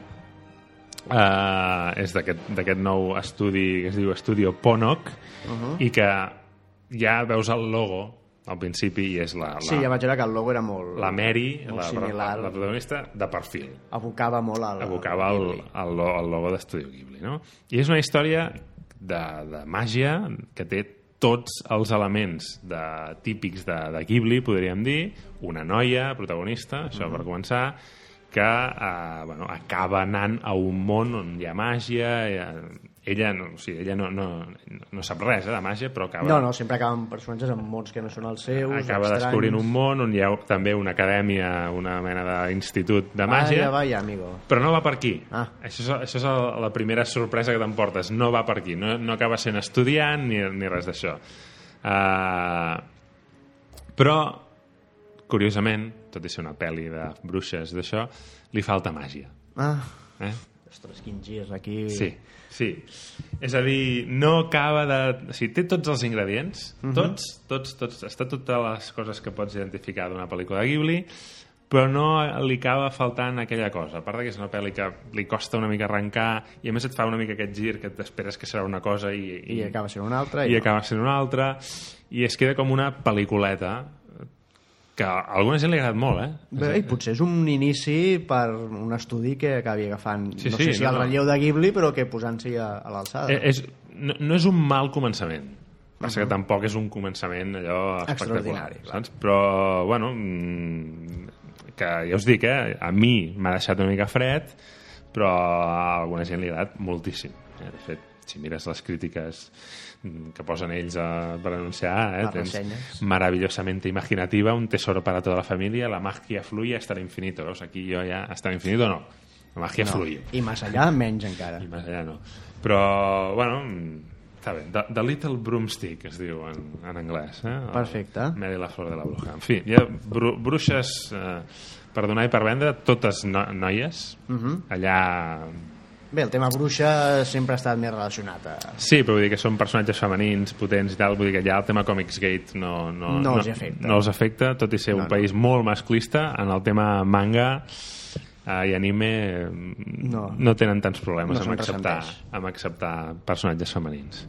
Speaker 2: eh, és d'aquest d'aquest nou
Speaker 1: Uh-huh.
Speaker 2: estudi que es diu Estudio Ponok uh -huh. i que ja veus el logo, al principi i és la, la,
Speaker 1: Sí, ja vaig veure que el logo era molt...
Speaker 2: la Mary,
Speaker 1: Molt
Speaker 2: la,
Speaker 1: similar.
Speaker 2: la protagonista, de perfil.
Speaker 1: Evocava molt el...
Speaker 2: Evocava el,
Speaker 1: Ghibli.
Speaker 2: el, lo- el logo d'Estudio Ghibli, no? I és una història de, de màgia que té tots els elements de, típics de, de Ghibli, podríem dir, una noia protagonista, això
Speaker 1: Mhm.
Speaker 2: per començar, que eh, bueno, acaba anant a un món on hi ha màgia, eh, ella no, o sigui, ella no, no, no sap res eh, de màgia, però acaba
Speaker 1: No, no, sempre acaben personatges amb mons que no són els seus,
Speaker 2: acaba
Speaker 1: estranys.
Speaker 2: descobrint un món on hi ha també una acadèmia, una mena d'institut de màgia,
Speaker 1: Vaya, vaya, amigo.
Speaker 2: però no va per aquí.
Speaker 1: Ah.
Speaker 2: Això és, això és el- la primera sorpresa que t'emportes. No va per aquí. No, no acaba sent estudiant ni, ni res d'això. Uh, però, curiosament, tot i ser una pel·li de bruixes i d'això, li falta màgia.
Speaker 1: Ah,
Speaker 2: Eh?
Speaker 1: ostres, quin gir aquí.
Speaker 2: Sí, sí. És a dir, no acaba de... O sigui, té tots els ingredients,
Speaker 1: Mhm.
Speaker 2: tots, tots, tots, està totes les coses que pots identificar d'una pel·lícula de Ghibli, però no li acaba faltant aquella cosa. A part de que és una pel·li que li costa una mica arrencar i a més et fa una mica aquest gir que t'esperes que serà una cosa i,
Speaker 1: I acaba sent un altre.
Speaker 2: i acaba sent una altra i es queda com una pel·liculeta que a alguna gent li ha agradat molt, eh?
Speaker 1: Bé, i potser és un inici per un estudi que acabi agafant,
Speaker 2: Sí,
Speaker 1: no
Speaker 2: sí,
Speaker 1: sé si
Speaker 2: no,
Speaker 1: el
Speaker 2: no.
Speaker 1: relleu de Ghibli, però que posant-s'hi a, a l'alçada.
Speaker 2: Eh, és, no, no és un mal començament. Passa que tampoc és un començament allò
Speaker 1: Mhm.
Speaker 2: espectacular.
Speaker 1: Extraordinari, clar.
Speaker 2: Saps? Però, bueno, mm, que ja us dic, eh, a mi m'ha deixat una mica fred, però a alguna gent li ha agradat moltíssim. Eh? De fet, si mires les crítiques mm, que posen ells a, per anunciar, eh?
Speaker 1: Les ressenyes.
Speaker 2: Maravillosamente imaginativa, un tesoro para toda la familia, la magia fluye hasta el infinito. Veus, aquí jo ja... Hasta el infinito no. La magia
Speaker 1: no.
Speaker 2: fluye.
Speaker 1: I més allà, menys encara.
Speaker 2: I més allà no. Però, bueno, mm, està bé. The, the Little Broomstick es diu en, en anglès. Eh? El
Speaker 1: Perfecte.
Speaker 2: Mary la flor de la bruja. En fi, hi ha bru bruixes eh, per donar i per vendre, totes no noies. Uh
Speaker 1: Mhm.
Speaker 2: -huh. Allà...
Speaker 1: Bé, el tema bruixa sempre ha estat més relacionat a...
Speaker 2: Sí, però vull dir que són personatges femenins, potents i tal. Vull dir que allà el tema Comics Gate no, no,
Speaker 1: No els afecta.
Speaker 2: No els afecta, tot i ser un país molt masclista. En el tema manga eh, i anime eh,
Speaker 1: No.
Speaker 2: no tenen tants problemes
Speaker 1: No
Speaker 2: amb,
Speaker 1: se'n
Speaker 2: acceptar,
Speaker 1: ressenteix.
Speaker 2: amb acceptar personatges femenins.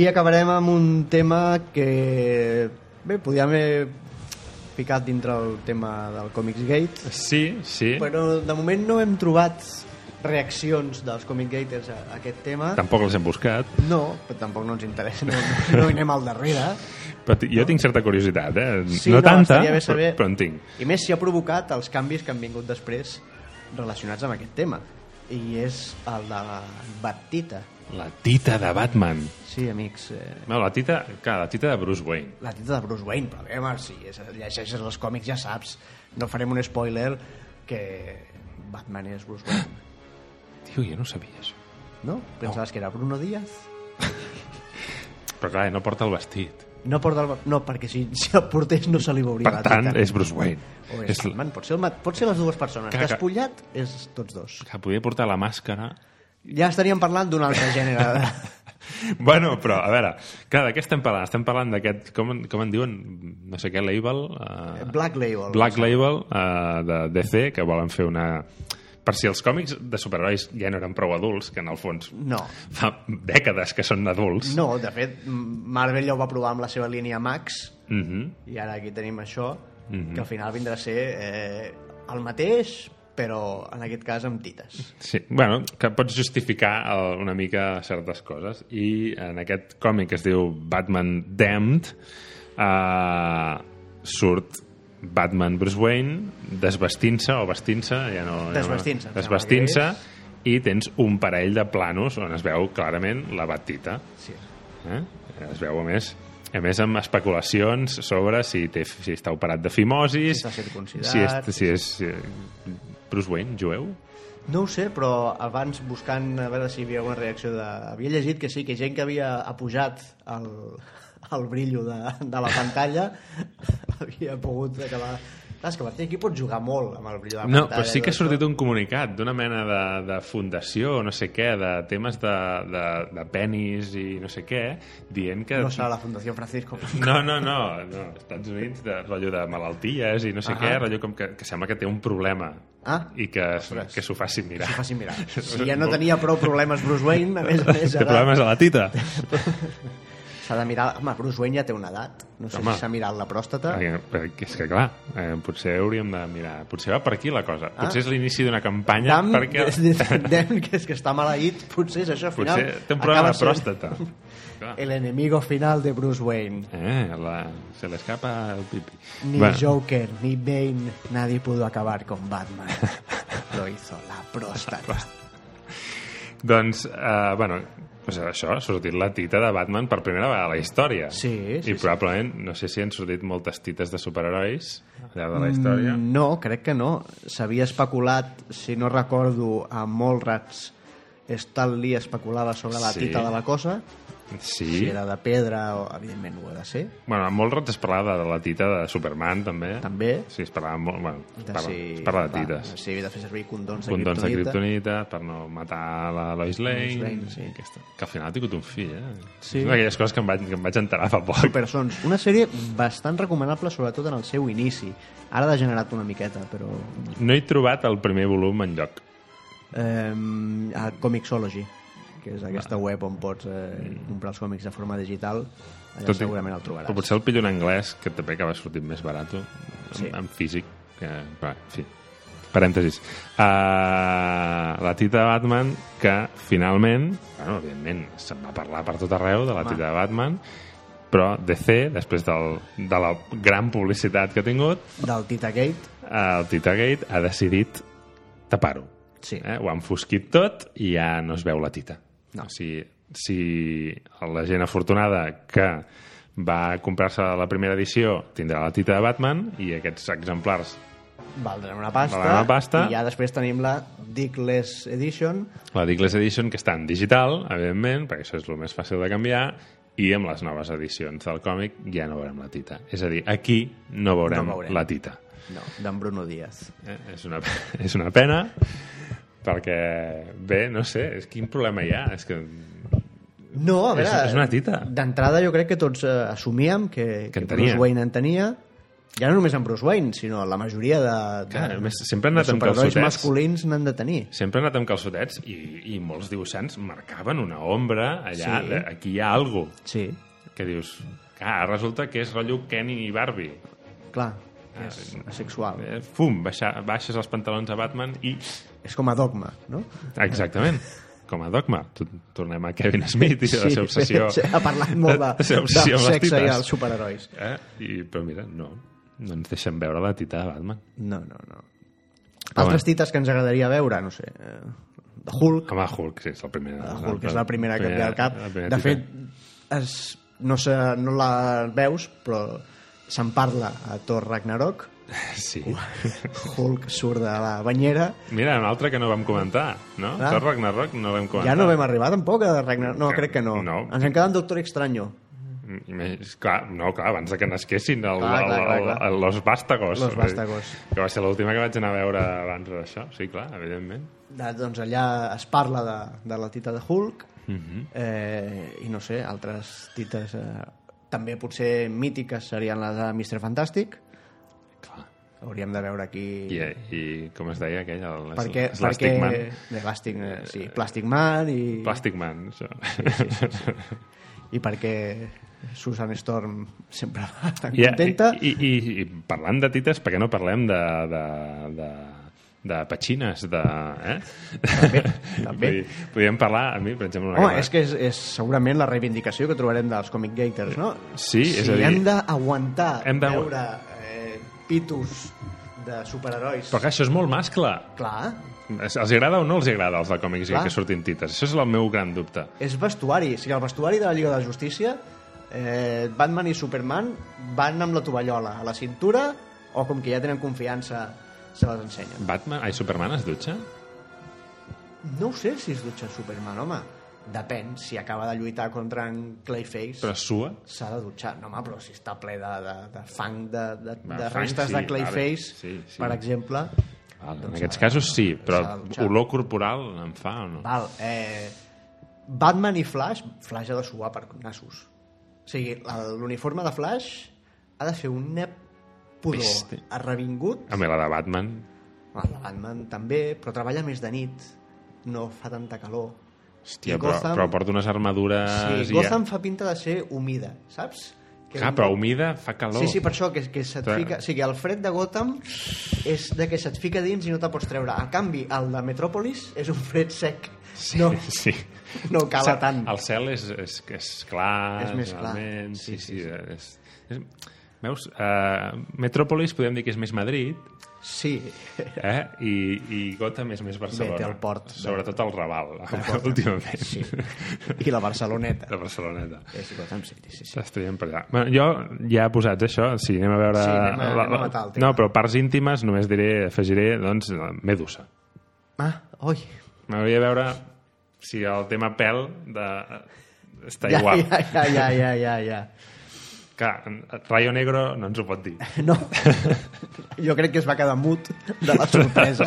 Speaker 1: I acabarem amb un tema que... Bé, podíem haver picat dintre el tema del Comics Gate,
Speaker 2: Sí, sí. Bueno.
Speaker 1: però de moment no hem trobat reaccions dels Comic Gaters a a aquest tema.
Speaker 2: Tampoc els hem buscat.
Speaker 1: No, però tampoc no ens interessa, no, no hi anem al darrere.
Speaker 2: Però ti- jo tinc certa curiositat, eh?
Speaker 1: Sí,
Speaker 2: no,
Speaker 1: no,
Speaker 2: tanta,
Speaker 1: estaria bé
Speaker 2: però,
Speaker 1: saber-
Speaker 2: però en tinc.
Speaker 1: I més si ha provocat els canvis que han vingut després relacionats amb aquest tema. I és el de la Batita.
Speaker 2: La tita de Batman.
Speaker 1: Sí, amics, eh,
Speaker 2: No, la tita, clar, la tita de Bruce Wayne.
Speaker 1: la tita de Bruce Wayne, però bé, home, si és, llegeixes els còmics ja saps, no farem un spoiler que Batman és Bruce Wayne,
Speaker 2: Tio, jo no sabia això.
Speaker 1: no? Pensaves que era Bruno Díaz?
Speaker 2: Però clar, no porta el vestit.
Speaker 1: No, porta el... no perquè si, si el portés no se li veuria
Speaker 2: Per
Speaker 1: la
Speaker 2: tant,
Speaker 1: tita.
Speaker 2: és Bruce Wayne.
Speaker 1: O és, Batman, pot ser, el, ma- pot ser les dues persones.
Speaker 2: Caca.
Speaker 1: Despullat és tots dos.
Speaker 2: Que podia portar la màscara...
Speaker 1: Ja estaríem parlant d'un altre gènere.
Speaker 2: Bueno, però, a veure, clar, de què estem parlant? Estem parlant d'aquest, com, en- com en diuen, no sé què, label... eh,
Speaker 1: Black Label.
Speaker 2: Black Label eh, de DC, que volen fer una... Per si els còmics de superherois ja no eren prou adults, que en el fons
Speaker 1: No.
Speaker 2: fa dècades que són adults.
Speaker 1: No, de fet, Marvel ja ho va provar amb la seva línia Max,
Speaker 2: Mhm.
Speaker 1: i ara aquí tenim això, que al final vindrà a ser eh, el mateix, però en aquest cas amb tites.
Speaker 2: Sí, bueno, que pots justificar eh, una mica certes coses. I en aquest còmic que es diu Batman Damned eh, surt Batman Bruce Wayne desvestint-se o vestint-se, ja no... ja no-
Speaker 1: Desvestint-se, em sembla
Speaker 2: Desvestint-se i tens un parell de planos on es veu clarament la batita.
Speaker 1: Sí.
Speaker 2: Eh? Es veu, a més, a més amb especulacions sobre si, té, si està operat de fimosis...
Speaker 1: Si està circumcidat.
Speaker 2: Si és, si és eh, Bruce Wayne, jueu?
Speaker 1: No ho sé, però abans buscant a veure si hi havia alguna reacció de... Havia llegit que sí, que gent que havia apujat el, el brillo de, de la pantalla havia pogut acabar Clar, és que a partir d'aquí pots jugar molt amb el brillo de la
Speaker 2: No,
Speaker 1: pantalla.
Speaker 2: però sí que ha
Speaker 1: doncs,
Speaker 2: sortit un comunicat d'una mena de, de fundació, no sé què, de temes de, de, de penis i no sé què, dient que...
Speaker 1: No serà la Fundació Francisco.
Speaker 2: No, no, no, no. Estats Units, de rotllo de malalties i no sé
Speaker 1: Ahà.
Speaker 2: què, rotllo com que, que sembla que té un problema
Speaker 1: Ah.
Speaker 2: i que,
Speaker 1: Ostres.
Speaker 2: que s'ho facin mirar.
Speaker 1: S'ho facin mirar. Si ja no tenia prou problemes Bruce Wayne, a més a més,
Speaker 2: Té
Speaker 1: ara
Speaker 2: problemes a la tita.
Speaker 1: s'ha de mirar... Home, Bruce Wayne ja té una edat. No sé
Speaker 2: Home.
Speaker 1: si s'ha mirat la pròstata.
Speaker 2: Perquè- perquè És que, clar, eh, potser hauríem de mirar... Potser va per aquí la cosa.
Speaker 1: Ah.
Speaker 2: Potser és l'inici d'una campanya
Speaker 1: Dam,
Speaker 2: perquè...
Speaker 1: Dam, que és que està maleït, potser és això, al final...
Speaker 2: Potser té un problema
Speaker 1: acaba Eh.
Speaker 2: de pròstata. Clar.
Speaker 1: El enemigo final de Bruce Wayne.
Speaker 2: Eh, la... se li escapa el pipi.
Speaker 1: Ni
Speaker 2: Bueno,
Speaker 1: Joker, ni Bane, nadie pudo acabar con Batman. Lo hizo la próstata.
Speaker 2: Doncs, eh, bueno, pues això, ha sortit la tita de Batman per primera vegada a la història.
Speaker 1: Sí, sí,
Speaker 2: I
Speaker 1: sí.
Speaker 2: probablement, no sé si han sortit moltes tites de superherois al llarg de la història. Mm.
Speaker 1: No, crec que no. S'havia especulat, si no recordo, a Molrats Stan Lee especulava sobre la
Speaker 2: Sí.
Speaker 1: tita de la cosa,
Speaker 2: Sí.
Speaker 1: si
Speaker 2: sí
Speaker 1: era de pedra, o, evidentment ho ha de ser,
Speaker 2: Bueno, a molts rats es parlava de la tita de Superman, també.
Speaker 1: també.
Speaker 2: Sí, es parlava molt... Bueno, es
Speaker 1: De
Speaker 2: parla,
Speaker 1: si-
Speaker 2: es parla de
Speaker 1: va,
Speaker 2: tites.
Speaker 1: Si havia de fer servir condons de
Speaker 2: Condons de
Speaker 1: criptonita.
Speaker 2: criptonita per no matar la Lois Lane.
Speaker 1: Lois Lane, sí.
Speaker 2: aquesta, que al final ha tingut un fill, eh?
Speaker 1: Sí.
Speaker 2: És una d'aquelles coses que em vaig, que em vaig enterar fa poc.
Speaker 1: Supersons, una sèrie bastant recomanable sobretot en el seu inici. Ara ha degenerat una miqueta, però
Speaker 2: No he trobat el primer volum en lloc.
Speaker 1: eh, a Comixology, que és aquesta web on pots eh,
Speaker 2: Mm.
Speaker 1: comprar els còmics de forma digital, allà Tot segurament el trobaràs.
Speaker 2: Però potser el pillo en anglès, que també acaba sortint més barat, eh? en,
Speaker 1: Sí.
Speaker 2: en físic. Que, va, en fi. Parèntesis. Uh, la tita de Batman, que finalment, bueno, evidentment, se'n va parlar per tot arreu de la
Speaker 1: Home.
Speaker 2: tita de Batman, però DC, després del, de la gran publicitat que ha tingut,
Speaker 1: Del Tita Gate,
Speaker 2: el Tita Gate ha decidit tapar-ho.
Speaker 1: Sí.
Speaker 2: Eh? Ho ha enfosquit tot i ja no es veu la tita.
Speaker 1: No.
Speaker 2: O sigui, si la gent afortunada que va comprar-se la primera edició tindrà la tita de Batman i aquests exemplars,
Speaker 1: valdrà una pasta,
Speaker 2: Valdrà una pasta.
Speaker 1: i ja després tenim la Dickless Edition,
Speaker 2: la Dickless Edition, que està en digital, evidentment, perquè això és el més fàcil de canviar, i amb les noves edicions del còmic ja no veurem la tita. És a dir, aquí no veurem,
Speaker 1: No veurem.
Speaker 2: la tita.
Speaker 1: no, d'en Bruno Díaz.
Speaker 2: Eh, és, una, és una pena perquè, bé, no sé, és quin problema hi ha? És que
Speaker 1: No, a
Speaker 2: És-
Speaker 1: veure,
Speaker 2: és una tita.
Speaker 1: D'entrada jo crec que tots eh, assumíem que,
Speaker 2: en tenia.
Speaker 1: Bruce Wayne en tenia, ja no només en Bruce Wayne, sinó la majoria de, de,
Speaker 2: Clar, a més, sempre han anat
Speaker 1: de
Speaker 2: amb
Speaker 1: superherois
Speaker 2: calçotets.
Speaker 1: masculins n'han de tenir.
Speaker 2: sempre ha anat amb calçotets i, i molts dibuixants marcaven una ombra allà,
Speaker 1: Sí.
Speaker 2: sí. aquí hi ha algo
Speaker 1: Sí,
Speaker 2: que dius, clar, resulta que és rotllo Kenny i Barbie.
Speaker 1: clar,
Speaker 2: Ah,
Speaker 1: és asexual.
Speaker 2: Eh, fum, baixa, baixes els pantalons a Batman i...
Speaker 1: És com a dogma, no?
Speaker 2: Exactament, com a dogma. Tu- Tornem a Kevin Smith i sí, la seva obsessió.
Speaker 1: Ha parlat molt de,
Speaker 2: la seva
Speaker 1: de,
Speaker 2: obsessió amb les
Speaker 1: sexe i
Speaker 2: tites.
Speaker 1: els superherois.
Speaker 2: Eh? I, però mira, no, no ens deixen veure la tita de Batman.
Speaker 1: No, no, no.
Speaker 2: Ah,
Speaker 1: Altres tites que ens agradaria veure, no sé, eh, de Hulk,
Speaker 2: Home, Hulk, sí, és el primer.
Speaker 1: de Hulk és la primera que et ve al cap.
Speaker 2: la primera
Speaker 1: De
Speaker 2: tita.
Speaker 1: fet, es, no, sé, no la veus, però se'n parla a Thor Ragnarok.
Speaker 2: Sí.
Speaker 1: Hulk surt de la banyera.
Speaker 2: Mira, un altre que no vam comentar, no?
Speaker 1: Ah.
Speaker 2: Ah. Thor Ragnarok no l'hem comentat.
Speaker 1: Ja no vam arribar tampoc a Ragnarok. No,
Speaker 2: Que-
Speaker 1: crec que no.
Speaker 2: no.
Speaker 1: Ens en queda en Doctor Extraño.
Speaker 2: I més, clar, no, clar, abans de que nasquessin el,
Speaker 1: Clar,
Speaker 2: el,
Speaker 1: clar, clar,
Speaker 2: el,
Speaker 1: clar.
Speaker 2: el, Los Vástagos.
Speaker 1: Los Vástagos.
Speaker 2: Que va ser l'última que vaig anar a veure abans d'això, sí, clar, evidentment.
Speaker 1: de, doncs allà es parla de, de la tita de Hulk eh, i no sé, altres tites eh, també potser mítiques serien la de Mr. Fantàstic
Speaker 2: Clar.
Speaker 1: hauríem de veure aquí
Speaker 2: I, i com es deia aquell? El,
Speaker 1: perquè,
Speaker 2: es- Elastic
Speaker 1: perquè
Speaker 2: Man.
Speaker 1: Elastic, eh, sí, Plastic Man i,
Speaker 2: Plastic Man, això.
Speaker 1: i perquè Susan Storm sempre va tan
Speaker 2: I,
Speaker 1: contenta
Speaker 2: i, i, i, parlant de tites, per què no parlem de... de, de de petxines, de... Eh? També,
Speaker 1: també.
Speaker 2: Podríem parlar, a mi, per exemple... una
Speaker 1: Home,
Speaker 2: que-
Speaker 1: és que és, és segurament la reivindicació que trobarem dels comic gators, no?
Speaker 2: Sí, és
Speaker 1: si
Speaker 2: a dir-
Speaker 1: hem d'aguantar
Speaker 2: Hem
Speaker 1: hem
Speaker 2: d'agu-
Speaker 1: veure eh, pitos de superherois...
Speaker 2: Però clar, això és molt mascle.
Speaker 1: Clar,
Speaker 2: Es- Els agrada o no els agrada els de còmics
Speaker 1: Clar.
Speaker 2: que surtin tites? Això és el meu gran dubte.
Speaker 1: és vestuari. O sigui, el vestuari de la Lliga de la Justícia, eh, Batman i Superman van amb la tovallola a la cintura o com que ja tenen confiança se les ensenyen.
Speaker 2: Batman, ai, Superman es dutxa?
Speaker 1: No ho sé si es dutxa Superman, home. Depèn, si acaba de lluitar contra en Clayface...
Speaker 2: Però sua?
Speaker 1: s'ha de dutxar. No, home, però si està ple de, de, de fang, de, de,
Speaker 2: Va,
Speaker 1: de
Speaker 2: fang,
Speaker 1: restes
Speaker 2: sí,
Speaker 1: de Clayface,
Speaker 2: vale. Sí, sí.
Speaker 1: per exemple...
Speaker 2: Val, en
Speaker 1: doncs
Speaker 2: aquests
Speaker 1: s'ha de-
Speaker 2: casos sí, però
Speaker 1: s'ha de dutxar.
Speaker 2: olor corporal en fa o no?
Speaker 1: Val, eh, Batman i Flash, Flash ha de suar per nassos. O sigui, la- l'uniforme de Flash ha de fer un nep pudor
Speaker 2: Peste.
Speaker 1: arrevingut.
Speaker 2: A mi la de Batman,
Speaker 1: Ah, La Batman també, però treballa més de nit, no fa tanta calor. I
Speaker 2: hòstia, però,
Speaker 1: Gotham-
Speaker 2: però porta unes armadures...
Speaker 1: Sí,
Speaker 2: i
Speaker 1: Gotham fa pinta de ser humida, saps?
Speaker 2: Ja... Ah, però humida fa calor.
Speaker 1: Sí, sí, per això, que, que se't
Speaker 2: Clar.
Speaker 1: fica... O sigui, el fred de Gotham és de que se't fica dins i no te pots treure. A canvi, el de Metròpolis és un fred sec.
Speaker 2: Sí,
Speaker 1: No,
Speaker 2: sí.
Speaker 1: no cala
Speaker 2: Cel-
Speaker 1: tant.
Speaker 2: El cel és, és, és clar.
Speaker 1: És més clar.
Speaker 2: realment, Sí, sí, sí, És, és, veus, uh, Metròpolis podem dir que és més Madrid
Speaker 1: Sí,
Speaker 2: eh? I, i Gotham és més Barcelona.
Speaker 1: Vete al port de-
Speaker 2: Sobretot el Raval, últimament.
Speaker 1: sí. I la Barceloneta.
Speaker 2: De Barceloneta.
Speaker 1: És Gotham City, sí, sí.
Speaker 2: S'estrellen per allà. Bueno, jo ja posats això, si anem a veure...
Speaker 1: Sí, anem a- anem a matar el tema.
Speaker 2: No, però parts íntimes només diré, afegiré, doncs, la Medusa.
Speaker 1: Ah, oi.
Speaker 2: M'hauria de veure si el tema pèl de... està
Speaker 1: Ja,
Speaker 2: igual.
Speaker 1: ja, ja, ja, ja, ja, ja.
Speaker 2: Que Rayo Negro no ens ho pot dir.
Speaker 1: No. Jo crec que es va quedar mut de la sorpresa.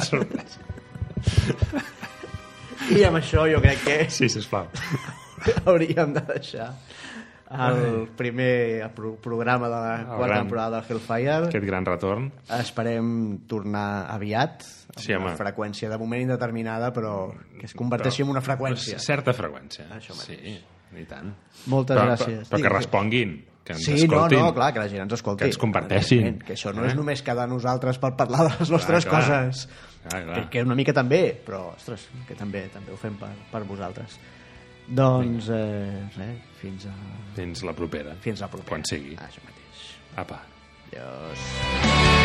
Speaker 1: I amb això jo crec que
Speaker 2: Sí, sisplau.
Speaker 1: hauríem de deixar el primer pro- programa de la quarta
Speaker 2: gran.
Speaker 1: temporada de Hellfire.
Speaker 2: Aquest gran retorn.
Speaker 1: Esperem tornar aviat, amb
Speaker 2: Sí,
Speaker 1: una
Speaker 2: home.
Speaker 1: freqüència de moment indeterminada, però que es converteixi en una freqüència.
Speaker 2: Certa freqüència.
Speaker 1: Això
Speaker 2: sí, i tant.
Speaker 1: Moltes
Speaker 2: però,
Speaker 1: gràcies.
Speaker 2: Però, però que
Speaker 1: Digues.
Speaker 2: responguin, que ens
Speaker 1: Sí, no,
Speaker 2: escoltin.
Speaker 1: no, clar, que la gent ens escolti.
Speaker 2: Que ens comparteixin.
Speaker 1: Evidentment, Que això no
Speaker 2: Eh?
Speaker 1: és només quedar nosaltres per parlar de les nostres
Speaker 2: clar.
Speaker 1: coses.
Speaker 2: Ah, Clar, clar.
Speaker 1: Que, que una mica també, però, ostres, que també també ho fem per, per vosaltres. Doncs, eh, res, fins a,
Speaker 2: Fins la propera.
Speaker 1: fins a propera.
Speaker 2: Quan sigui.
Speaker 1: Això mateix.
Speaker 2: Apa.
Speaker 1: Adiós.